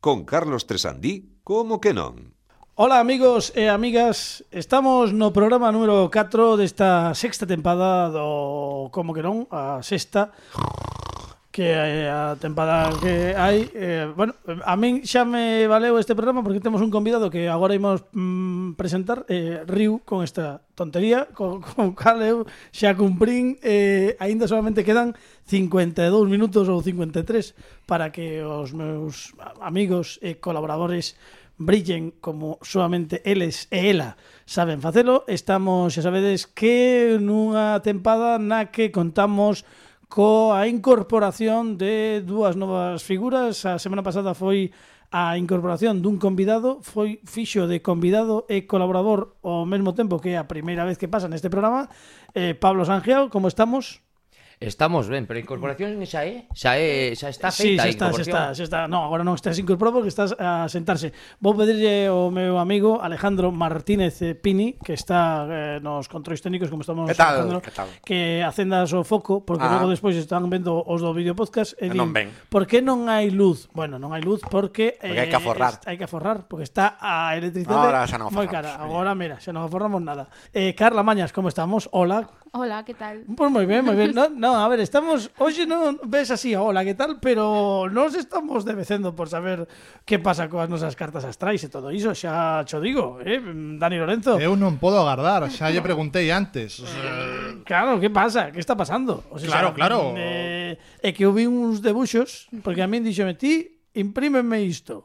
Con Carlos Tresandí, como que non? Ola amigos e amigas, estamos no programa número 4 desta sexta tempada do Como que non, a sexta que é a tempada que hai eh, bueno, a min xa me valeu este programa porque temos un convidado que agora imos mm, presentar eh, Riu con esta tontería con, con cal eu xa cumprín eh, aínda solamente quedan 52 minutos ou 53 para que os meus amigos e colaboradores brillen como solamente eles e ela saben facelo. Estamos, xa sabedes, que nunha tempada na que contamos coa incorporación de dúas novas figuras. A semana pasada foi a incorporación dun convidado, foi fixo de convidado e colaborador ao mesmo tempo que é a primeira vez que pasa neste programa. Eh, Pablo Sangiao, como estamos? Estamos ben, pero a incorporación xa é, xa é, xa está feita sí, xa está, xa a incorporación. está, xa está. No, agora non estás incorporado porque estás a sentarse. Vou pedirlle ao meu amigo Alejandro Martínez eh, Pini, que está eh, nos controis técnicos, como estamos Que tal? Alejandro, Que tal? que acendas o foco, porque Ah. logo despois están vendo os do vídeo podcast e E din, non ven. por que non hai luz? Bueno, non hai luz porque, eh, Porque hai que aforrar. est- hai que aforrar, porque está a electricidade Ahora xa non moi aforramos, cara. oye. Agora, mira, xa non aforramos nada. Eh, Carla Mañas, como estamos? Hola, Hola, ¿qué tal? Pues moi ben, moi ben. No, no, a ver, estamos hoxe non ves así, hola, que tal, pero nos estamos devecendo por saber que pasa coas nosas cartas astrais e todo iso, xa cho digo, eh, Dani Lorenzo. Eu non podo agardar, xa lle preguntei antes. O sea, Claro, que pasa? Que está pasando? O Claro, claro. Eh, é que eu vi uns debuxos, porque a min dixome, ti, imprímeme isto.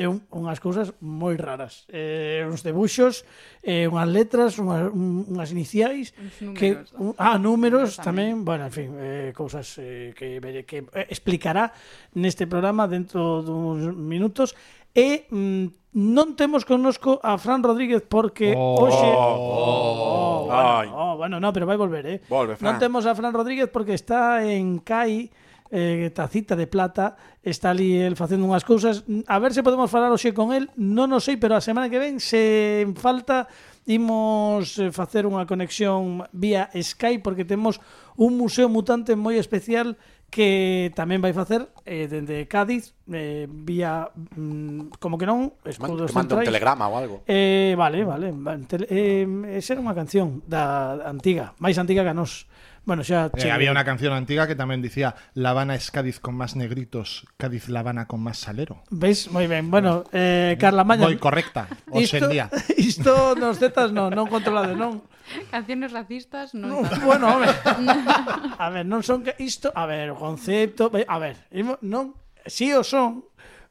É un, unhas cousas moi raras. Eh, uns debuxos, eh, unhas letras, unhas, un- unhas iniciais, Uns que números, un, ah, números Números tamén, bueno, en fin, eh, cousas eh, que, vere- que eh, explicará neste programa dentro duns minutos. E mm, non temos connosco a Fran Rodríguez porque Oh. hoxe... Oh. Oh, bueno, Ay. oh, bueno, no, pero vai volver, eh. Volve, Fran. Non temos a Fran Rodríguez porque está en CAI, eh, tacita de plata, está ali el facendo unhas cousas. A ver se podemos falar hoxe con el, non o sei, pero a semana que ven, se en falta, imos eh, facer unha conexión vía Skype porque temos un museo mutante moi especial que tamén vai facer eh, dende Cádiz eh, vía mm, como que non Man- escudos Te mando un centrais. telegrama ou algo. Eh, vale, vale. vale, tele- eh, esa era unha canción da antiga, máis antiga que a nos. Bueno, xa eh, che- había una canción antigua que tamén dicía La Habana es Cádiz con más negritos, Cádiz La Habana con más salero. Ves, moi ben. Bueno, eh, Carla Maña. Moi correcta, hoxe en día. Isto nos zetas non, non controlades, non. Canciones racistas, no. Non, tanto. bueno, a ver. A ver, non son que isto, a ver, o concepto, a ver, imo- non si sí o son,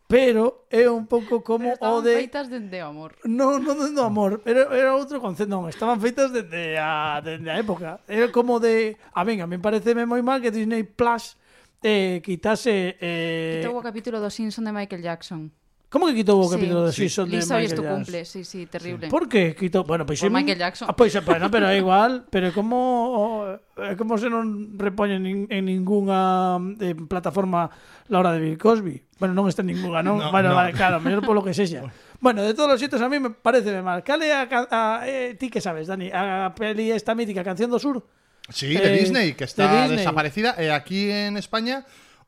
pero é un pouco como Pero o estaban de feitas de, de amor. Non, non dendo amor, era, era outro concepto, non, estaban feitas dende a, dende a época. Era como de, a min, a min pareceme moi mal que Disney Plus eh, quitase... Eh, Quitou o capítulo do Simpson de Michael Jackson. como que quitou o Sí. capítulo de Season de Lisa hoy es Michael tu Jackson? cumple, sí, sí, terrible. Por que quitou? Bueno, pois... Por eu- Michael Jackson. Ah, pois, bueno, pero é igual, pero como eh, como se non repoñen nin, en ningunha eh, plataforma la hora de Bill Cosby? Bueno, non está en ningunha, non? No, bueno, no. vale, claro, mellor polo que sexa. Bueno, de todos os xeitos a mí me parece mal. Cale a, ca- a eh, ti que sabes, Dani, a peli esta mítica Canción do Sur. Sí, de Eh, Disney, que está de Disney. desaparecida. Eh, aquí en España,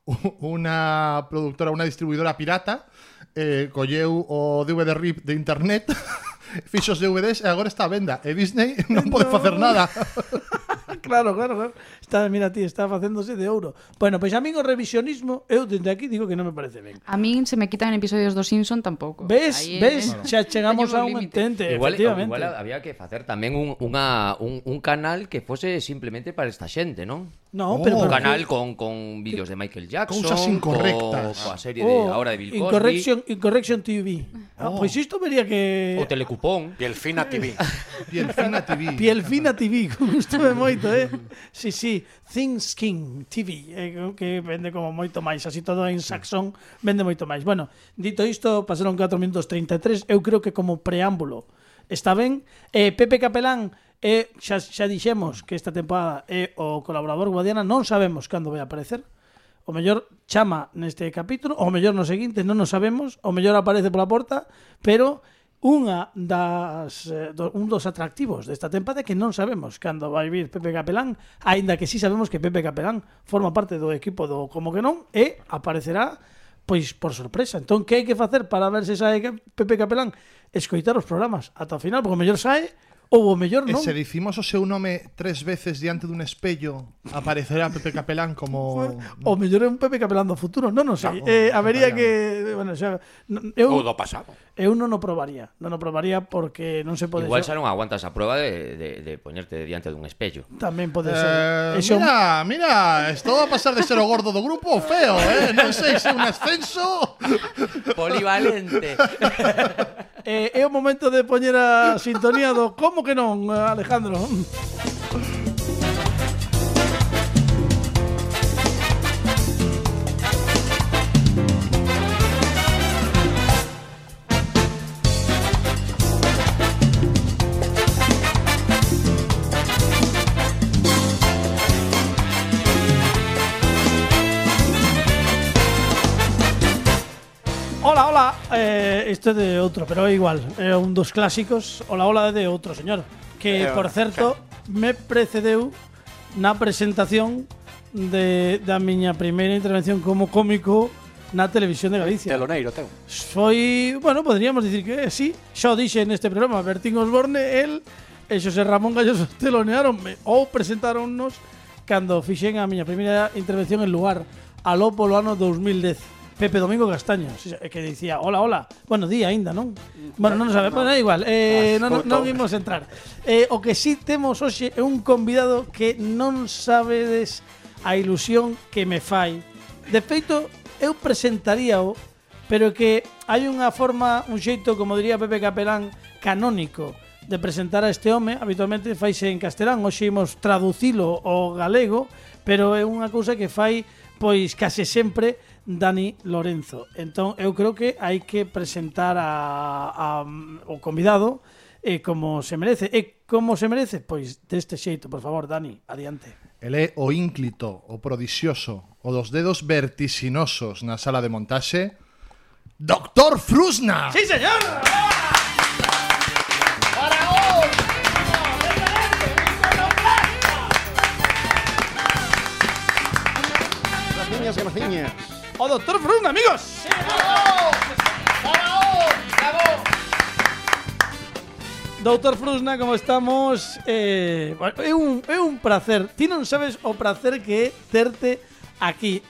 u- una productora, una distribuidora pirata, eh, colleu o DVD RIP de internet, fixos DVDs, e agora está a venda. E Disney non pode facer nada. Claro, claro, claro. Está, mira ti, está facéndose de ouro. Bueno, pois a min o revisionismo, eu dende aquí digo que non me parece ben. A mí se me quitan episodios do Simpson tampouco. ¿Ves? Ahí, eh, ¿Ves? Xa chegamos teño a un un límite. entente, Igual, efectivamente. igual había que facer tamén un, unha, un, un canal que fose simplemente para esta xente, non? No, Oh, pero Un pero- canal con, con vídeos de Michael Jackson Cousas incorrectas. co, coa serie de Oh, Ahora de Bill Cosby Incorrection, Incorrection TV. Ah, pois isto vería que... O Telecupón Pielfina TV. Pielfina TV. Piel fina TV, gustame moito, eh? Sí, sí, Thin Skin TV, eh, que vende como moito máis, así todo en saxón, vende moito máis. Bueno, dito isto, pasaron 4 minutos 33, eu creo que como preámbulo está ben. Eh, Pepe Capelán, eh, xa, xa dixemos que esta temporada é o colaborador guadiana, non sabemos cando vai aparecer, O mellor chama neste capítulo, o mellor no seguinte, non o sabemos, o mellor aparece pola porta, pero unha das eh, do, un dos atractivos desta tempada é que non sabemos cando vai vir Pepe Capelán, aínda que sí sabemos que Pepe Capelán forma parte do equipo do Como que non e aparecerá pois por sorpresa. Entón, que hai que facer para ver se sae Cap- Pepe Capelán? Escoitar os programas ata o final, porque o mellor sae ou o mellor E non. se dicimos o seu nome tres veces diante dun espello, aparecerá Pepe Capelán como... O mellor é un Pepe Capelán do futuro, non o sei. Claro, eh, habería vaya. que, bueno, xa, non- eu Ou do pasado. eu non o probaría, non o probaría porque non se pode Igual ser. xa non aguantas a proba de, de, de poñerte diante dun espello. Tamén pode ser. Eh, Ese é un- mira, mira, estou a pasar de ser o gordo do grupo ao feo, eh? Non sei se é un ascenso Polivalente. Eh, é o momento de poñer a sintonía do como que non, eh, Alejandro. Hola, hola. Eh, este é de outro, pero é igual. É un dos clásicos. Hola, hola é de outro señor. Que, Eh, por certo, me precedeu na presentación de, da miña primeira intervención como cómico na televisión de Galicia. Teloneiro, teu. Foi, bueno, podríamos dicir que sí, xa o dixe neste programa, Bertín Osborne, el e Xosé Ramón Gallos telonearonme ou presentáronnos cando fixen a miña primeira intervención en lugar aló polo ano 2010. Pepe Domingo Castaño, si- que dicía, hola, hola, bueno día aínda, non? Bueno, non sabe, bueno, é igual, eh, Ah, non, non, non cortou. imos entrar. Eh, o que sí temos hoxe é un convidado que non sabedes a ilusión que me fai. De feito, eu presentaríao, pero que hai unha forma, un xeito, como diría Pepe Capelán, canónico de presentar a este home, habitualmente faise en castelán, hoxe imos traducilo ao galego, pero é unha cousa que fai pois case sempre Dani Lorenzo. Entón, eu creo que hai que presentar a, a, o convidado eh, como se merece. E como se merece? Pois deste xeito, por favor, Dani, adiante. El é o ínclito, o prodixioso, o dos dedos vertixinosos na sala de montaxe, Doctor Frusna. ¡Sí, señor! Graciñas, graciñas. ¡O doctor Frun, amigos! Doutor Frusna, como estamos? Eh, bueno, é, un, é un prazer. Ti non sabes o prazer que é terte aquí.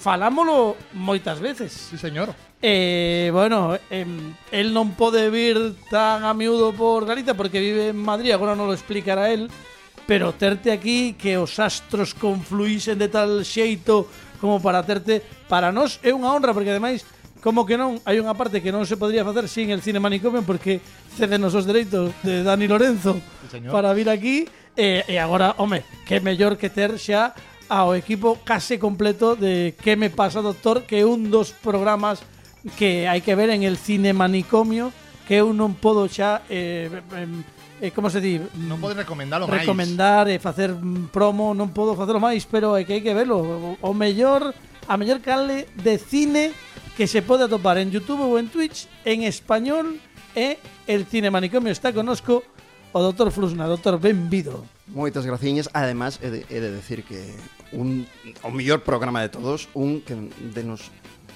Falámolo moitas veces. Sí, señor. Eh, bueno, em, él non pode vir tan a miúdo por Galicia porque vive en Madrid, agora non lo explicará él, pero terte aquí que os astros confluísen de tal xeito como para terte para nós é unha honra porque ademais como que non hai unha parte que non se podría facer sin el cine manicomio porque cédenos os dereitos de Dani Lorenzo señor. para vir aquí e, e agora, home, que mellor que ter xa ao equipo case completo de Que me pasa, doctor, que é un dos programas que hai que ver en el cine manicomio que eu non podo xa eh, em, eh, como se di Non podes recomendalo máis. recomendar e facer mm, promo, non podo facelo máis, pero é que hai que verlo. O- O mellor, a mellor canle de cine que se pode atopar en YouTube ou en Twitch en español é El Cine Manicomio. Está conosco o Dr. Frusna. Doctor, benvido. Moitas graciñas. Ademais, he de, he de decir que un o mellor programa de todos, un que de nos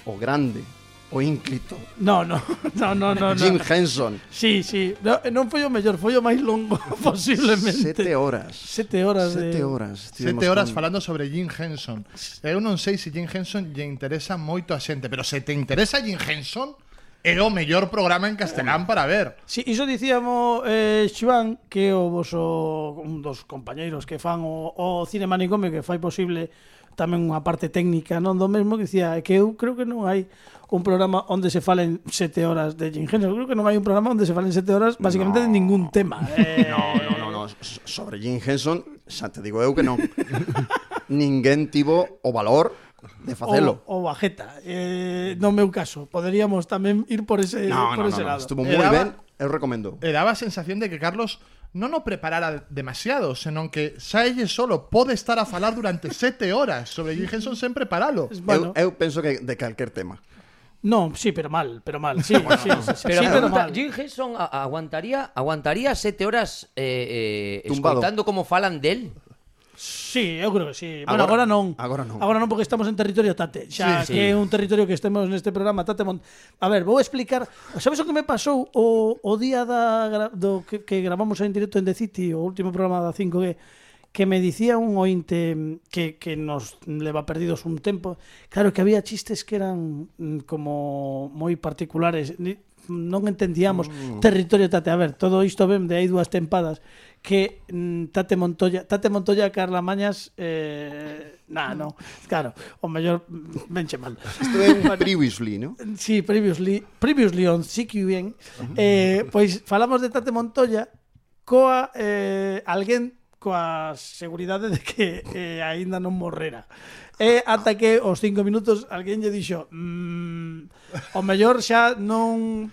o grande, o ínclito, No, no, no, no, no. no. Jim Henson. Sí, sí. No, non foi o mellor, foi o máis longo posiblemente. Sete horas. Sete horas de- Sete horas. Sete Estivemos horas con- falando sobre Jim Henson. Eu non sei se Jim Henson lle interesa moito a xente, pero se te interesa Jim Henson, é o mellor programa en castelán para ver. Si, iso dicíamos eh, Xiván que o voso un dos compañeiros que fan o, o cine manicomio que fai posible tamén unha parte técnica non do mesmo que dicía é que eu creo que non hai un programa onde se falen sete horas de Jim Henson. Eu creo que non hai un programa onde se falen sete horas basicamente de ningún tema. Eh, No, no, no, no. So- Sobre Jim Henson, xa te digo eu que non. Ninguén tivo o valor de facelo. O, o bajeta. Eh, no meu caso, poderíamos tamén ir por ese, No, por no, no, ese no. lado. Estuvo moi Era- ben, eu recomendo. Eh, E daba a sensación de que Carlos non o preparara demasiado, senón que xa elle solo pode estar a falar durante sete horas sobre Jim Henson sen preparalo. Bueno, Eu, eh eu penso que de calquer tema. no, sí, pero mal, pero mal. Sí, sí, sí, sí, Pero sí, a pero pregunta, mal. Jim Henson a- aguantaría aguantaría sete horas eh, eh, Tumbado. escoitando como falan del? Sí, eu creo que sí. Bueno, agora, Agora- non. agora non. Agora non porque estamos en territorio Tate. Xa Sí, que sí. é un territorio que estemos neste programa Tate Mont... A ver, vou explicar. Sabes o que me pasou o, o día da, gra- do que, que gravamos en directo en The City, o último programa da 5G? que me dicía un ointe mm, que, que nos leva perdidos un tempo claro que había chistes que eran mm, como moi particulares Ni- non entendíamos territorio Tate, a ver, todo isto ven de hai dúas tempadas que mm, Tate Montoya, Tate Montoya e Carla Mañas eh, nah, non, claro, o mellor mm, venche mal. Isto é un previously, ¿no? Sí, previously, previously on CQN, eh, pois falamos de Tate Montoya coa eh, alguén coa seguridade de que eh, aínda non morrera. E ata que os cinco minutos alguén lle dixo mm, o mellor xa non...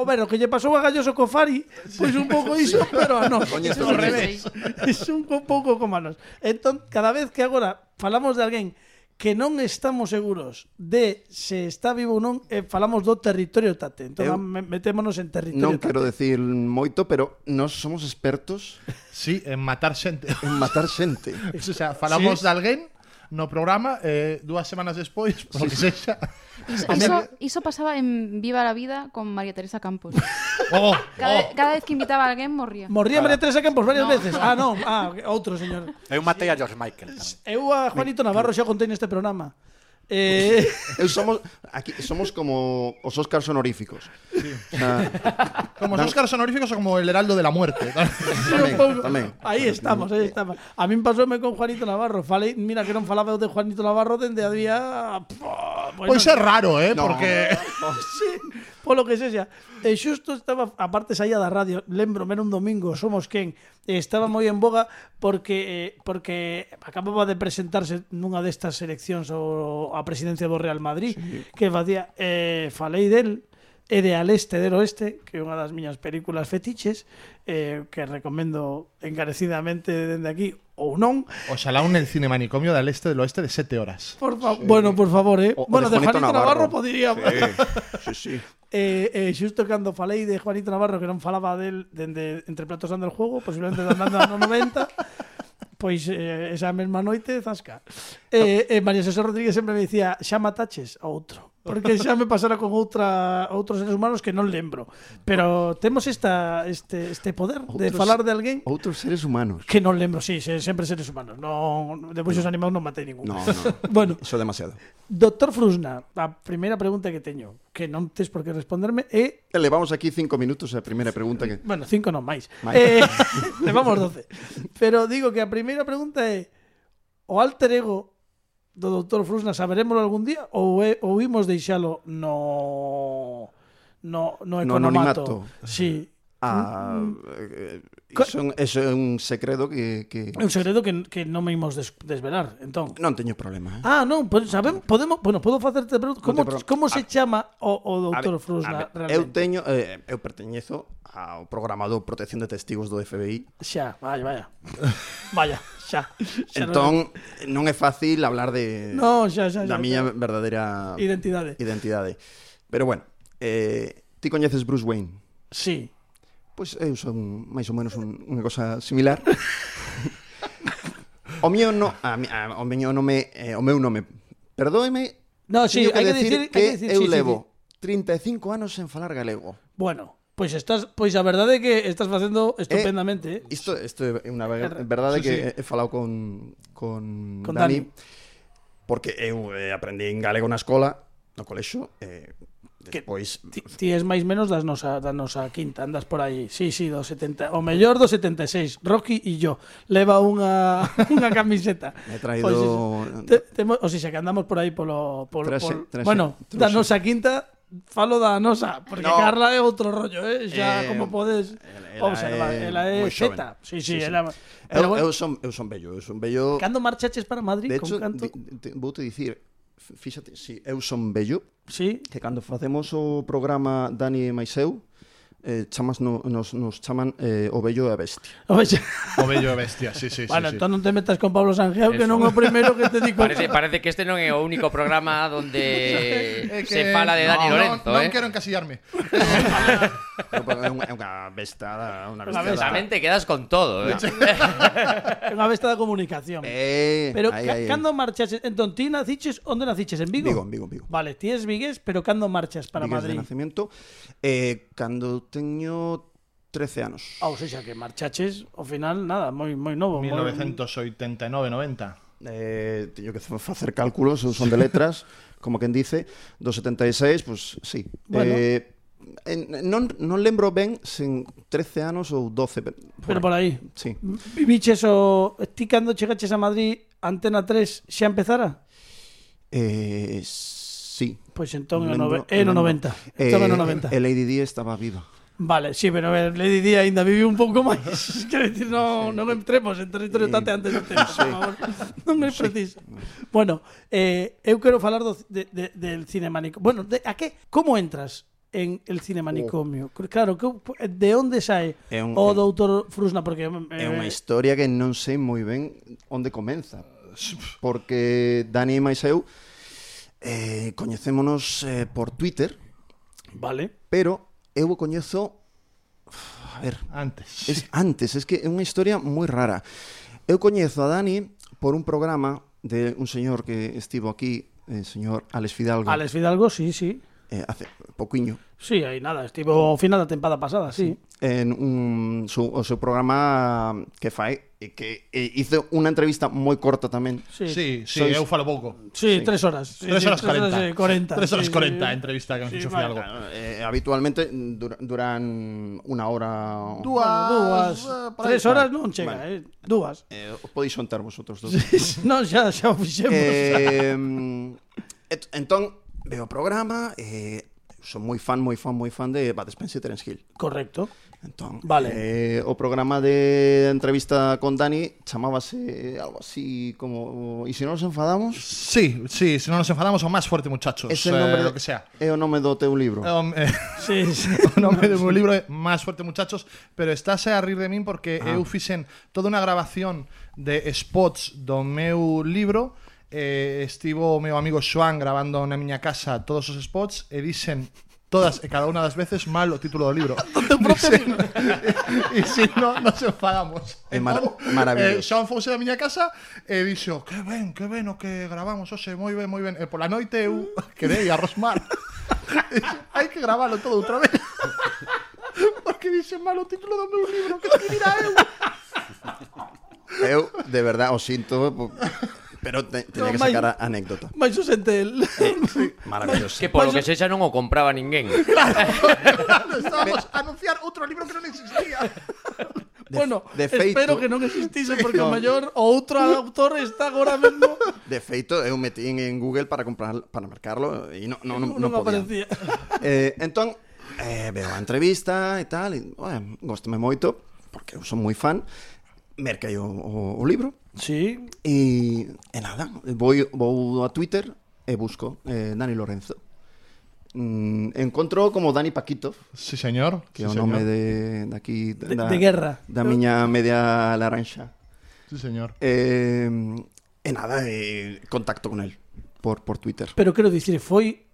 O ver, o que lle pasou a Galloso co Fari, pois un pouco iso, pero a nós. Coño, Iso esto ao non é. revés. Es un po- pouco como a nós. Entón, cada vez que agora falamos de alguén que non estamos seguros de se está vivo ou non, eh, falamos do territorio Tate. Entón, Eu- me- metémonos en territorio Non Tate. quero decir moito, pero nós somos expertos Sí, en matar xente. en matar xente. o sea, falamos Sí. de alguén no programa eh, dúas semanas despois, por lo que sexa. Iso, A mí- iso, iso pasaba en Viva la Vida con María Teresa Campos. Oh, Cada, oh. cada vez que invitaba a alguén morría. Morría María Teresa Campos varias veces. Ah, non, ah, outro señor. Eu matei a George Michael tamén. Eu a Juanito Navarro xa contei neste programa. Eh, Eu somos aquí somos como os Óscars honoríficos. Ah, Como os Óscaros honoríficos ou como el heraldo de la muerte. un tamén, pouco. tamén. Aí estamos, aí estamos. A min pasoume con Juanito Navarro. Falei, mira que non falaba eu de Juanito Navarro dende había Pois Pois é raro, eh, No. porque sí, polo que sexa. E xusto estaba, aparte saía da radio, lembro, era un domingo, somos quen, e estaba moi en boga porque eh, porque acababa de presentarse nunha destas eleccións ao, a presidencia do Real Madrid, sí. que facía, eh, falei del, e de Al Este del Oeste, que é unha das miñas películas fetiches, eh, que recomendo encarecidamente dende aquí, ou non, Oxalá un el cine manicomio del este del oeste de 7 horas. por fa... Bueno, por favor, eh. O- o bueno, de de Juanito Juanito, Navarro, Navarro. podría... Sí, sí. Eh, eh, xusto cando falei de Juanito Navarro que non falaba del dende entre platos dando el juego, posiblemente andando no 90, pois eh, esa mesma noite zasca. Eh, eh, María José Rodríguez sempre me dicía, xa mataches a outro. Porque xa me pasara con outra outros seres humanos que non lembro. Pero temos esta este este poder de Outros- falar de alguén Outros seres humanos. que non lembro, sí, se- sempre seres humanos. Non, de buxos animados non matei ningún. No, no. Bueno, Iso é demasiado. Doctor Frusna, a primeira pregunta que teño, que non tes por que responderme, é Elevamos aquí cinco minutos a primeira pregunta que Bueno, cinco non máis. Máis. Eh, levamos 12. Pero digo que a primeira pregunta é o alter ego do Dr. Frusna saberemos algún día ou é, ou imos deixalo no no no No economato. anonimato. sí. Ah, eh, iso, é un- iso é un segredo que, que É un segredo que, que non me imos des, desvelar, entón. non teño problema. eh. Ah, non, pois sabemos, podemos, bueno, podo facerte pregunta, como, problema. como se chama o, o A ver, Dr. a Frusna ver, realmente? eu teño eh, eu perteñezo ao programa do Protección de Testigos do FBI. Xa, vaya, vaya. Vaya, xa. xa Entón non é fácil hablar de non, xa, xa, xa. da miña verdadeira identidade. identidade. Pero bueno, eh, ti coñeces Bruce Wayne? Sí. Pois eu son máis ou menos un, unha cosa similar. o mío no, a, mi- a, o meu nome, eh, o meu nome. Perdóeme. No, sí, teño hai que decir- hai que que decir- eu sí, sí, levo 35 anos sen falar galego. Bueno, pois estás, pois a verdade é que estás facendo estupendamente, eh. Isto, isto é unha ver- verdade Sí, que sí. he falado con, con, Con Dani, Dani. porque eu eh, aprendí en galego na escola, no colexo, eh, despois Ti, ti es máis menos das nosa, da nosa quinta, andas por aí. Sí, sí, do 70, o mellor do 76, Rocky e yo. Leva unha unha camiseta. Me he traído- Pois iso. te, temo, o sea, que andamos por aí polo polo, Traxe- polo traxe- bueno, da truxe. nosa quinta falo da nosa, porque No. Carla é outro rollo, eh, xa Eh, como podes ela- ela observar, é ela é moi xoven. Z. Sí, sí, Sí, sí. ela. eu, Pero bueno, eu son eu son bello, eu son bello. cando marchaches para Madrid De con hecho, canto? di, di, vou te dicir, f- fíxate, si eu son bello, Sí. que cando facemos o programa Dani e Maiseu, eh, chamas no, nos, nos chaman eh, o bello e a bestia. O sea, O bello e bestia, sí, sí, sí, bueno, sí. entón non te metas con Pablo Sanjeo, que Eso. non é o primeiro que te digo. Parece, parece que este non é o único programa donde É Eh, que- se fala de Dani no, Lorenzo, no, eh. Non quero encasillarme. Pero, pero, É unha, é unha bestada, unha Unha bestada. Tamén te quedas con todo, eh. É unha besta da comunicación. Eh, Pero ahí, ca- ahí, ahí. cando marchaches, entón ti naciches, onde naciches? En Vigo? Vigo, en Vigo, en Vigo. Vale, ti es vigués, pero cando marchas para Vigués de Madrid? nacimiento. Eh, cando teño 13 anos. Ah, ou seja, que marchaches, ao final, nada, moi moi novo. moi- 1989-90. Eh, teño que fa- facer cálculos, eu son de letras, como quen dice, do 76, pois pues, sí. Bueno. Eh, en, non, non lembro ben se en 13 anos ou 12. Pero, Pero por aí. Sí. Viviches o... Ti cando chegaches a Madrid, Antena 3 xa empezara? Eh, sí. Pois entón é o nove- Lembro- é no lembro. 90. Estaba no 90. Eh, E Lady Di estaba viva. Vale, sí, pero a ver, Lady Di ainda vive un pouco máis. Quero dicir, non, non entremos en territorio tate antes do tempo, por favor. Non é preciso. Bueno, eh, eu quero falar do, de, de, del cinemanicomio. Bueno, de, a que? Como entras en el cinemanicomio? Claro, que, de onde sae É un- o é- doutor Frusna? Porque, eh, É unha historia que non sei moi ben onde comeza. Porque Dani e máis eu eh, coñecémonos eh, por Twitter, Vale. pero eu o coñezo a ver, Antes. es antes, es que é unha historia moi rara. Eu coñezo a Dani por un programa de un señor que estivo aquí, eh, señor Alex Fidalgo, Alex Fidalgo, sí, sí. eh, hace pouquiño, Sí, aí nada, estivo ao final da tempada pasada, sí. en un su, o seu programa que fai e que e hizo unha entrevista moi corta tamén. Sí, sí, Sí, sí, Sois- eu falo pouco. tres horas. Sí, Tres sí, horas eh, 40. 40. Tres horas sí, 40 sí. entrevista que nos Sí, fixo vale, Fidalgo. Eh, habitualmente dur- duran unha hora Bueno, dúas, eh, por tres aí. horas non chega, eh. Dúas. Eh, os podeis xontar vosotros dos. non, xa, xa o fixemos. Eh, et- entón, veo o programa, eh, son moi fan, moi fan, moi fan de Bud Spencer e Terence Hill. Correcto. Entón, Vale. eh, o programa de entrevista con Dani chamábase algo así como "Oh, E se non nos enfadamos? Sí, sí, se non nos enfadamos o máis forte, muchachos. Ese nombre eh, o que sea. é o nome do teu libro. Um, eh, Sí, sí. o nome do meu libro é Más fuerte muchachos, pero estás a rir de min porque eu fixen toda unha grabación de spots do meu libro eh, estivo o meu amigo Joan grabando na miña casa todos os spots e dixen todas e cada unha das veces mal o título do libro. Dixen- E se non, nos enfadamos. É mar- Entón, maravilloso. eh, Joan fouse da miña casa eh, e dixo que ben, que ben o que gravamos, hoxe, moi ben, moi ben. E pola noite eu quedei a rosmar. E dixo, Hai que gravalo todo outra vez. Porque dixen mal o título do meu libro que escribirá eu. Eu, de verdad, o sinto, po- pero te, tenía que No, mai- sacar a anécdota. Mais o sente el... Eh, Maravilloso. Que polo que sexa non o compraba ninguén. Claro, estábamos a anunciar outro libro que non existía. bueno, de espero feito- que non existise porque o maior o outro autor está agora mesmo De feito, eu metín en Google para comprar para marcarlo e non non non, non non aparecía. podía. Eh, entón, eh, veo a entrevista e tal, e, bueno, gostame moito, porque eu son moi fan, merquei o, o, o libro, Sí, e, e nada, vou, vou a Twitter e busco eh, Dani Lorenzo. Mm, encontro como Dani Paquito, Sí, señor. que é o nome de, de aquí, De- de guerra. da miña media laranxa. Sí, señor. Eh, e nada, eh, contacto con el por, por Twitter. pero quero dicir, foi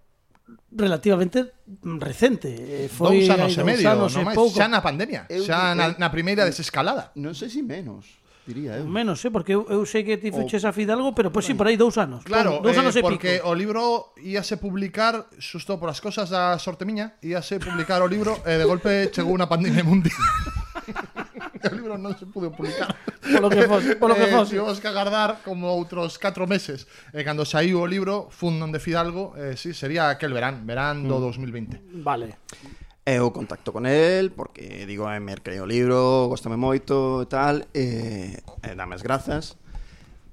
relativamente recente. eh, Foi dous hai anos e dous medio, anos e non máis, pouco. xa na pandemia, Eu- xa na, eu- na primeira desescalada. Non sei se menos, diría eu. Menos, eh, porque eu, eu sei que ti fiches a Fidalgo, pero pois si, por aí dous anos. Oh. Claro, dous anos eh, e porque pico. o libro íase publicar xusto por as cosas da sorte miña, íase publicar o libro e de golpe chegou unha pandemia mundial. E o libro non se pudo publicar. Eh, Polo que fose, polo que fose. tivemos que agardar como outros 4 meses. E cando saiu o libro, Fundón de Fidalgo, eh, sí, sería aquel verán, verán Mm. do 2020. Vale. Eu Eh, contacto con el porque digo, eh, merquei o libro, gostame moito e tal, e eh, dame as grazas.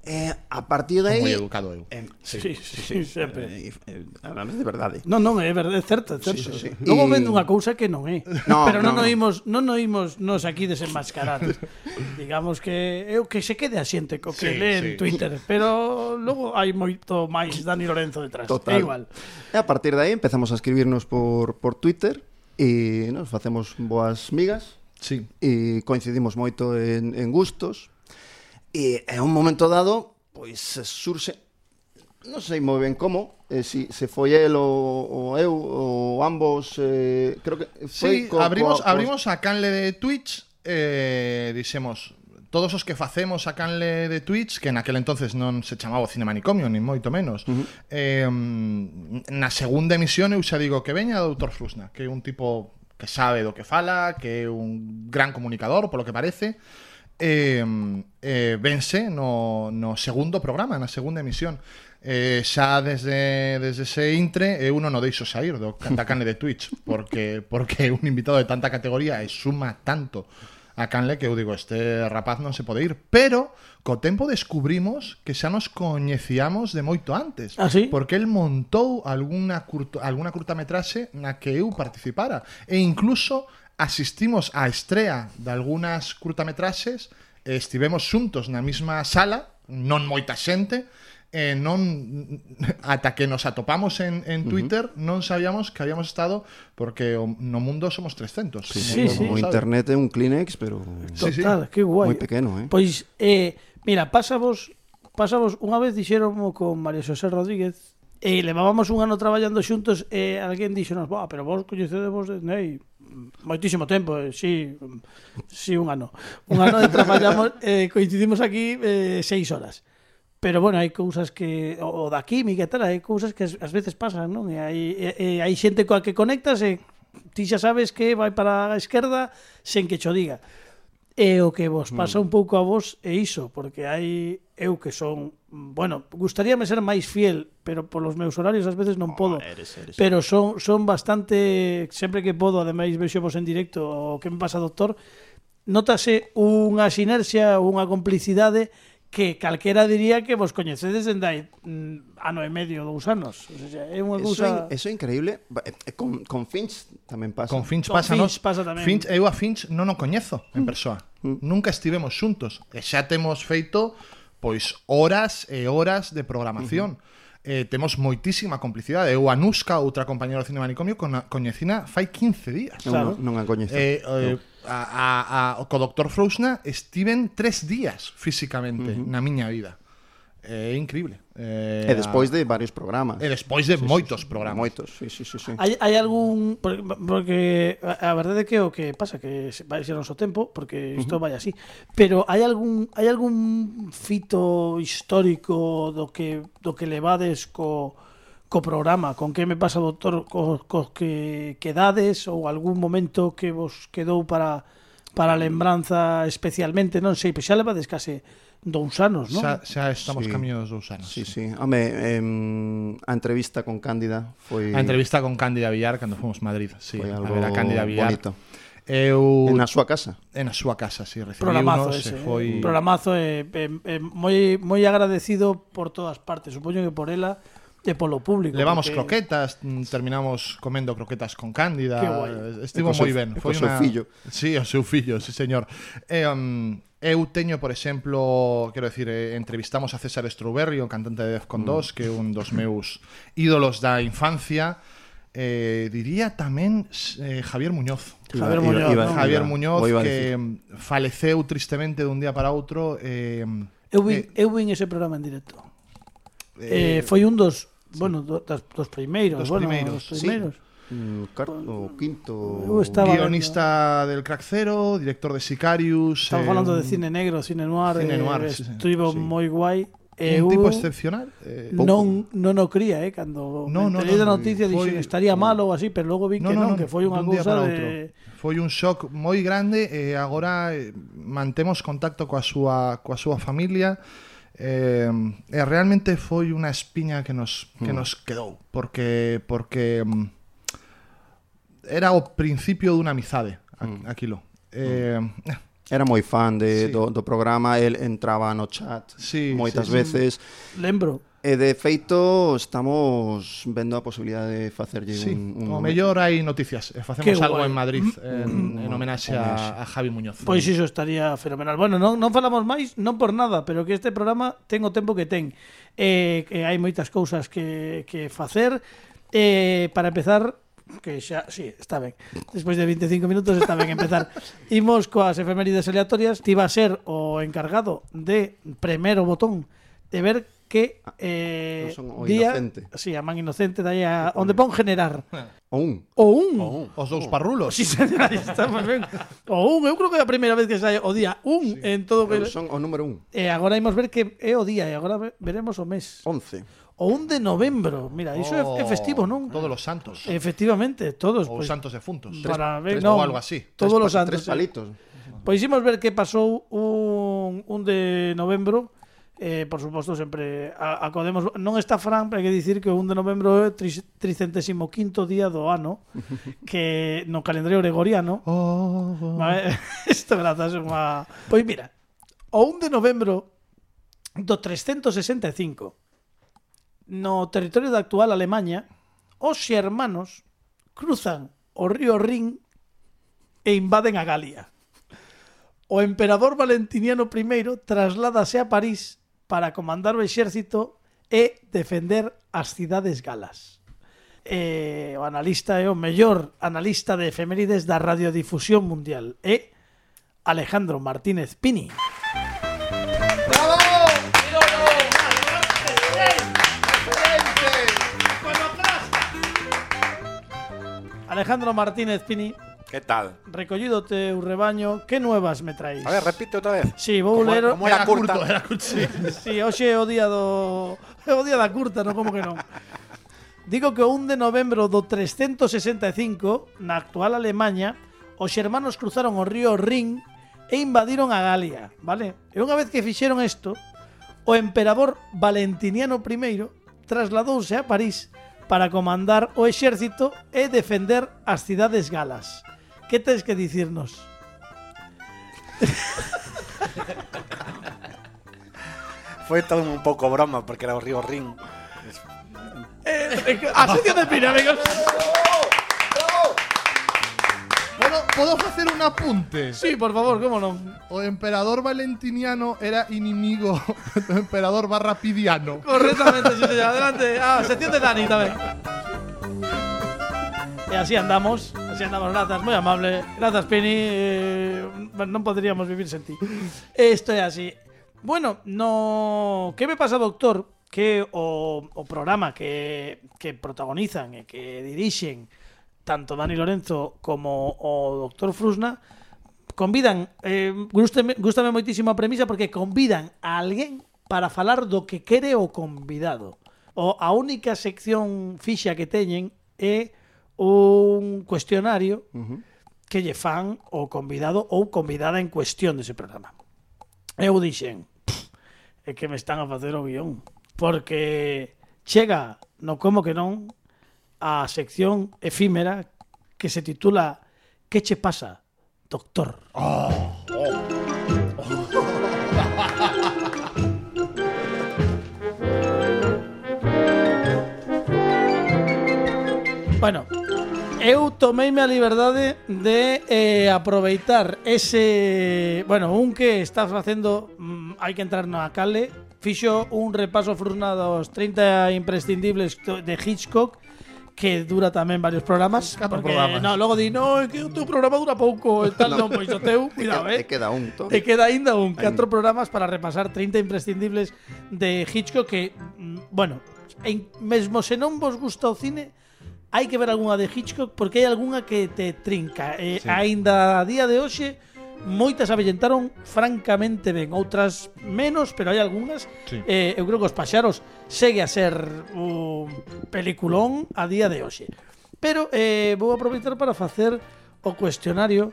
Eh, a partir de aí... Moi educado eu. Eh, Sí, sí, sí, sempre. eh, eh, Además de verdade. Non, non, é verdade, é certo, é certo. Sí, sí, sí. Logo E- vendo unha cousa que non é. No, Pero non no, no. oímos, non oímos nos aquí desenmascarar. Digamos que é o que se quede a xente co que Sí, lee en sí. Twitter, pero logo hai moito máis Dani Lorenzo detrás. É igual. Eh, E a partir de aí empezamos a escribirnos por, por Twitter e nos facemos boas migas Sí. e coincidimos moito en, en gustos e a un momento dado pois se surxe non sei moi ben como eh, si se foi el ou, ou eu ou ambos eh, creo que foi Sí, co- abrimos, coa- coa- abrimos a canle de Twitch eh, dixemos todos os que facemos a canle de Twitch que naquel entonces non se chamaba o Cine Manicomio ni moito menos uh -huh. eh, na segunda emisión eu xa digo que veña o Dr. Flusna que é un tipo que sabe do que fala que é un gran comunicador polo que parece eh, eh, vense no, no segundo programa, na segunda emisión. Eh, xa desde, desde ese intre eu non o deixo sair do cantacanle de Twitch porque porque é un invitado de tanta categoría e suma tanto a canle que eu digo este rapaz non se pode ir pero co tempo descubrimos que xa nos coñecíamos de moito antes Ah, sí? porque el montou alguna curto, alguna curtametraxe na que eu participara e incluso asistimos á estrea de algunas curtametraxes e estivemos xuntos na mesma sala non moita xente e non ata que nos atopamos en, en Twitter non sabíamos que habíamos estado porque o, no mundo somos 300 Sí, Sí, sí, sí. O internet é un Kleenex, pero Sí, sí. Total, qué guay. moi pequeno, eh. Pois, eh, mira, pasavos, pasavos unha vez dixeronmo con María Xosé Rodríguez e levábamos un ano traballando xuntos e alguén dixonos, "Boa, pero vos coñecedes vos de Nei moitísimo tempo, eh, si, si un ano. Un ano de traballamos, eh, coincidimos aquí eh, seis horas. Pero bueno, hai cousas que o o da química e tal, hai cousas que as- ás veces pasan, non? E hai e, e hai xente coa que conectas e ti xa sabes que vai para a esquerda sen que cho diga. E o que vos Mm. pasa un pouco a vos é iso, porque hai eu que son, bueno, gustaríame ser máis fiel, pero polos meus horarios ás veces Ah, non podo. Pero son son bastante sempre que podo, ademais vexo vos en directo o que me pasa doctor, notase unha sinerxia, unha complicidade que calquera diría que vos coñecedes dende hai mm, ano e medio, dous anos. O sea, é unha Eso é, cousa... eso é increíble. Ba- eh, eh, Con, con Finch tamén pasa. Con Finch Con pasa, Finch non? pasa tamén. Finch, eu a Finch non o coñezo en persoa. Nunca estivemos xuntos. E xa temos feito pois horas e horas de programación. Eh, temos moitísima complicidade. Eu a Nuska, outra compañera do Cine Manicomio, con coñecina fai 15 días. Non, Claro. non, non a coñezo. Eh, eh, a, a, a, co Dr. Frousna estiven tres días físicamente na miña vida. É increíble. Eh, e despois de varios programas. e despois de moitos programas. Moitos, sí, sí, sí, sí. Hai, hai algún porque, porque a a verdade é que o que pasa que se- vai ser o noso tempo porque isto vai así, pero hai algún hai algún fito histórico do que do que levades co co programa, con que me pasa doctor, co, co que quedades ou algún momento que vos quedou para para a lembranza especialmente, non sei, pois xa levades case dous anos, non? Xa, xa estamos Sí. camiño dos dous anos. Sí, sí. Home, em, a entrevista con Cándida foi A entrevista con Cándida Villar cando fomos a Madrid, sí, Foi a algo ver a Cándida Villar. bonito. Eu na súa casa. en a súa casa, sí, recibiu Programazo unos, ese, e eh. foi programazo eh, eh, eh, moi moi agradecido por todas partes, supoño que por ela e polo público. Levamos porque- croquetas, mm, terminamos comendo croquetas con Que Cándida. guai. Estivo E co seu- moi ben. e co Foi seu una... fillo. Sí, o seu fillo, sí señor. E, um, eu teño, por exemplo, quero decir, eh, entrevistamos a César Strouberry, o cantante de Mm. Defcon 2, que é un dos meus ídolos da infancia. Eh, diría tamén eh, Javier Muñoz. Javier Muñoz, ¿no? Javier iba- Muñoz o iba a que decir. mm, faleceu tristemente de un día para outro eh, Eu vin, eh, eu vin ese programa en directo. Eh, eh, foi un dos, bueno, do, das, dos primeiros, Dos bueno, primeiros, dos primeiros. Mm, Cuarto, quinto... Eu estaba guionista del Crack Zero, director de Sicarius Estamos eh, falando de un- cine negro, cine noir, Cine noir, eh, sí, sí, estivo sí. moi guai. un Eu tipo excepcional eh, non non o cría, eh, cando No, me no, enterei da no, noticia foi- dixen estaría malo ou así, pero logo vi que non, que foi unha dun día cousa de para outro. Foi un shock moi grande e agora eh, mantemos contacto coa súa coa súa familia. Eh, e realmente foi unha espiña que nos que Mm. nos quedou porque porque mm, era o principio dunha amizade Mm. a- aquilo. Eh, Era moi fan de, Sí. do, do programa, el entraba no chat Sí, sí, moitas sí. veces. lembro. E de feito estamos vendo a posibilidade de facerlle Sí, un, un o mellor hai noticias e facemos Qué algo guai. en Madrid en, en homenaxe a, a Javi Muñoz. Pois iso estaría fenomenal. Bueno, non, non falamos máis, non por nada, pero que este programa ten o tempo que ten. Eh, que hai moitas cousas que, que facer. Eh, para empezar, que xa, sí, está ben. Despois de 25 minutos está ben empezar. Imos coas efemérides aleatorias, ti vas ser o encargado de premer o botón de ver que eh, eu son o día, inocente. Sí, a man inocente dai a onde pon generar. O un. O un. Os dous Oh. parrulos. Sí, señora, estamos ben. O un, eu creo que é a primeira vez que sai o día un sí. en todo o Eu que... son o número un. E agora imos ver que é o día e agora ve- veremos o mes. 11. O 1 de novembro. Mira, iso é- é festivo, non? Oh. Todos los santos. Efectivamente, todos. ou pois, santos defuntos. para ver, Pues Tres- non, ou algo así. Todos os Tres pa- santos. eh. Tres palitos. Pois imos ver que pasou un, un de novembro. Eh, por suposto, sempre a- acodemos... Non está Fran, pero hai que dicir que o 1 de novembro é tris- 305º día do ano, que no calendario gregoriano... Oh, oh. Vale, Isto grazas é unha... Pois mira, o 1 de novembro do 365 no territorio da actual Alemanha os xermanos cruzan o río Rin e invaden a Galia. O emperador Valentiniano I trasládase a París para comandar o exército e defender as cidades galas. Eh, o analista é o mellor analista de efemérides da radiodifusión mundial é Alejandro Martínez Pini. Alejandro Martínez Pini, ¿Qué tal? recollido o teu rebaño, que nuevas me traís? A ver, repite otra vez. Sí, vou Como- ler... como era curta. era curto, sí. Sí, hoxe é o día do é o día da curta, non como que non. Digo que o 1 de novembro do 365, na actual Alemanha, os xermanos cruzaron o río Rin e invadiron a Galia, vale? E unha vez que fixeron isto, o emperador Valentiniano I trasladouse a París para comandar o exército e defender as cidades galas. Que tens que dicirnos? Fue todo un poco broma porque era Río Ring. Asocio de Pina, amigos. Bueno, podo facer un apunte. Sí, por favor, como non? O emperador valentiniano era inimigo do emperador barra pidiano. Correctamente, sí, señor. Adelante. Ah, sección de Dani también. Y así andamos, así andamos, gracias, muy amable. Gracias, Pini. eh, bueno, no podríamos vivir sin ti. Esto es así. Bueno, no. ¿Qué me pasa, doctor? Que o, o programa que, que protagonizan e que dirixen tanto Dani Lorenzo como o doctor Frusna convidan, eh, gústame, gústame moitísimo a premisa porque convidan a alguén para falar do que quere o convidado. O a única sección fixa que teñen é un cuestionario que lle fan o convidado ou convidada en cuestión dese programa. Eu dixen, "Pff, é que me están a facer o guión, porque chega, no como que non, a sección efímera que se titula Que che pasa, doctor? Bueno, eu tomeime a liberdade de eh, aproveitar ese... Bueno, un que está facendo... Mm, hai que entrar na cale. Fixo un repaso fruna dos 30 imprescindibles to- de Hitchcock que dura tamén varios programas. Catro porque, programas. No, logo di, no, é que o teu programa dura pouco, e tal, non, pois o teu, cuidado, eh. Te queda un, todo. Te queda ainda un catro programas para repasar 30 imprescindibles de Hitchcock que, mm, bueno, en, mesmo se non vos gusta o cine, hai que ver algunha de Hitchcock porque hai algunha que te trinca. E sí. aínda a día de hoxe moitas avellentaron francamente ben, outras menos, pero hai algunhas. Sí. Eh, eu creo que os paxaros segue a ser un peliculón a día de hoxe. Pero eh, vou aproveitar para facer o cuestionario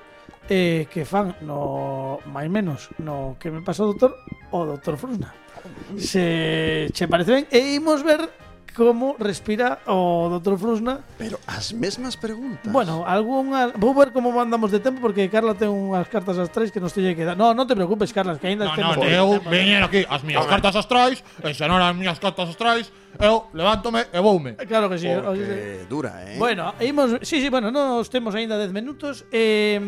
eh, que fan no máis menos no que me pasou o doutor o doutor Frusna. Se che parece ben, e imos ver como respira o doutor Frusna. Pero as mesmas preguntas. Bueno, algunha... Vou ver como andamos de tempo porque Carla ten unhas cartas as tres que nos teñe que dar. No, non te preocupes, Carla, que aínda No, temos no, tempo. eu veñen aquí as miñas cartas astrais, e se non as miñas cartas astrais, eu levántome e voume. Claro que sí. oye, Porque Oh, dura, eh? Bueno, imos, sí, sí, bueno, nos temos aínda 10 minutos. Eh,